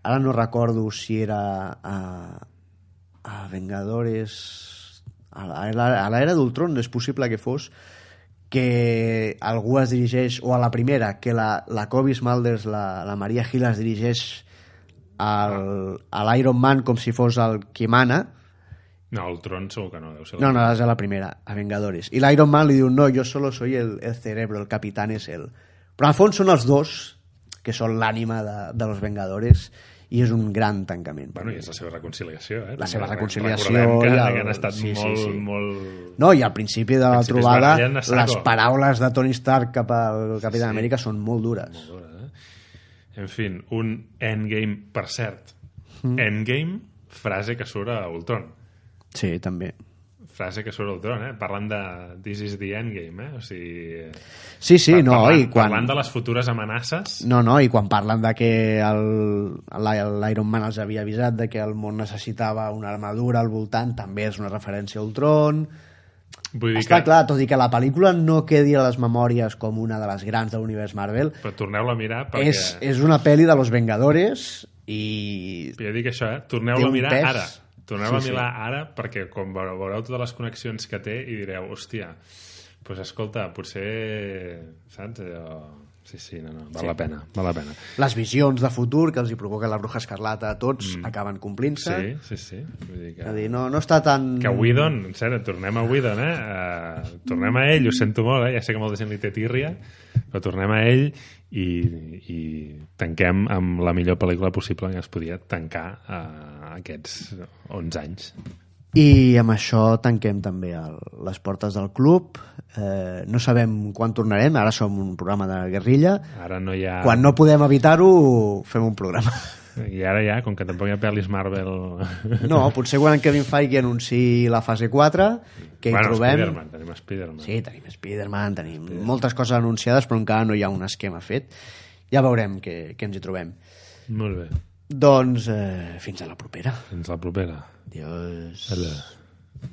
ara no recordo si era a, a Vengadores a la- a la- a l'era d'Ultron és possible que fos que algú es dirigeix o a la primera, que la, la Kobe Smulders la, la Maria Hill es dirigeix al, a l'Iron Man com si fos el qui mana
No, el tron segur que no. Deu ser
no, no, és a la primera, a Vengadores. I l'Iron Man li diu, no, jo solo soy el, el cerebro, el capitán és el... Però al fons són els dos, que són l'ànima de, de los Vengadores, i és un gran tancament.
Bueno, i és la seva reconciliació, eh?
La seva
Re-
reconciliació
Recordem que,
i el-
que han estat
sí, sí,
molt,
sí.
molt...
No, i al principi de la
Al principi es
trobada,
barallen a saco.
les paraules de Tony Stark cap al Capitán sí. Amèrica són molt dures.
Veure, eh? En fi, un endgame, per
Mm.
cert. Endgame, frase que surt a Ultron.
Sí, també.
frase que surt al tron, eh? Parlant de This is the endgame, eh? O sigui...
Sí, sí,
par-
no,
parlant,
i quan...
Parlant de les futures amenaces...
No, no, i quan parlen de que el- l'I- l'Iron Man els havia avisat de que el món necessitava una armadura al voltant, també és una referència a Ultron.
Vull dir
Està
que...
clar, tot i que la pel·lícula no quedi a les memòries com una de les grans de l'univers Marvel,
Però torneu-la a mirar perquè...
és, és una pel·li de Los Vengadores i...
Jo dic això, eh?
Té
Torneu-la a
un
mirar
pes.
ara. Torneu-la
Sí,
a
sí.
mirar ara perquè com veureu, veureu totes les connexions que té i direu, hòstia, doncs pues escolta, potser... Saps? Allò... Sí, sí, no, no, val sí. la pena, val la pena.
Les visions de futur que els hi provoca la bruja escarlata a tots mm. acaben complint-se.
Sí, sí, sí. Vull dir que...
És a dir, no, no està tan...
Que Whedon, en sèrio, tornem a Whedon, eh? Uh, tornem a ell, ho sento molt, eh? Ja sé que molta gent li té tírria, però tornem a ell i, i tanquem amb la millor pel·lícula possible que es podia tancar uh, aquests 11 anys.
I amb això tanquem també el, les portes del club. Eh, no sabem quan tornarem, ara som un programa de guerrilla.
Ara no hi ha...
Quan no podem evitar-ho, fem un programa.
I ara ja, com que tampoc hi ha pel·lis Marvel...
No, potser quan en Kevin Feige anunciï la fase 4, que hi
bueno,
trobem...
Spider-Man, tenim Spider-Man.
Sí, tenim Spider-Man, tenim moltes coses anunciades, però encara no hi ha un esquema fet. Ja veurem què, què ens hi trobem.
Molt bé.
Doncs eh, fins a la propera.
Fins la propera.
Adiós.
Adéu.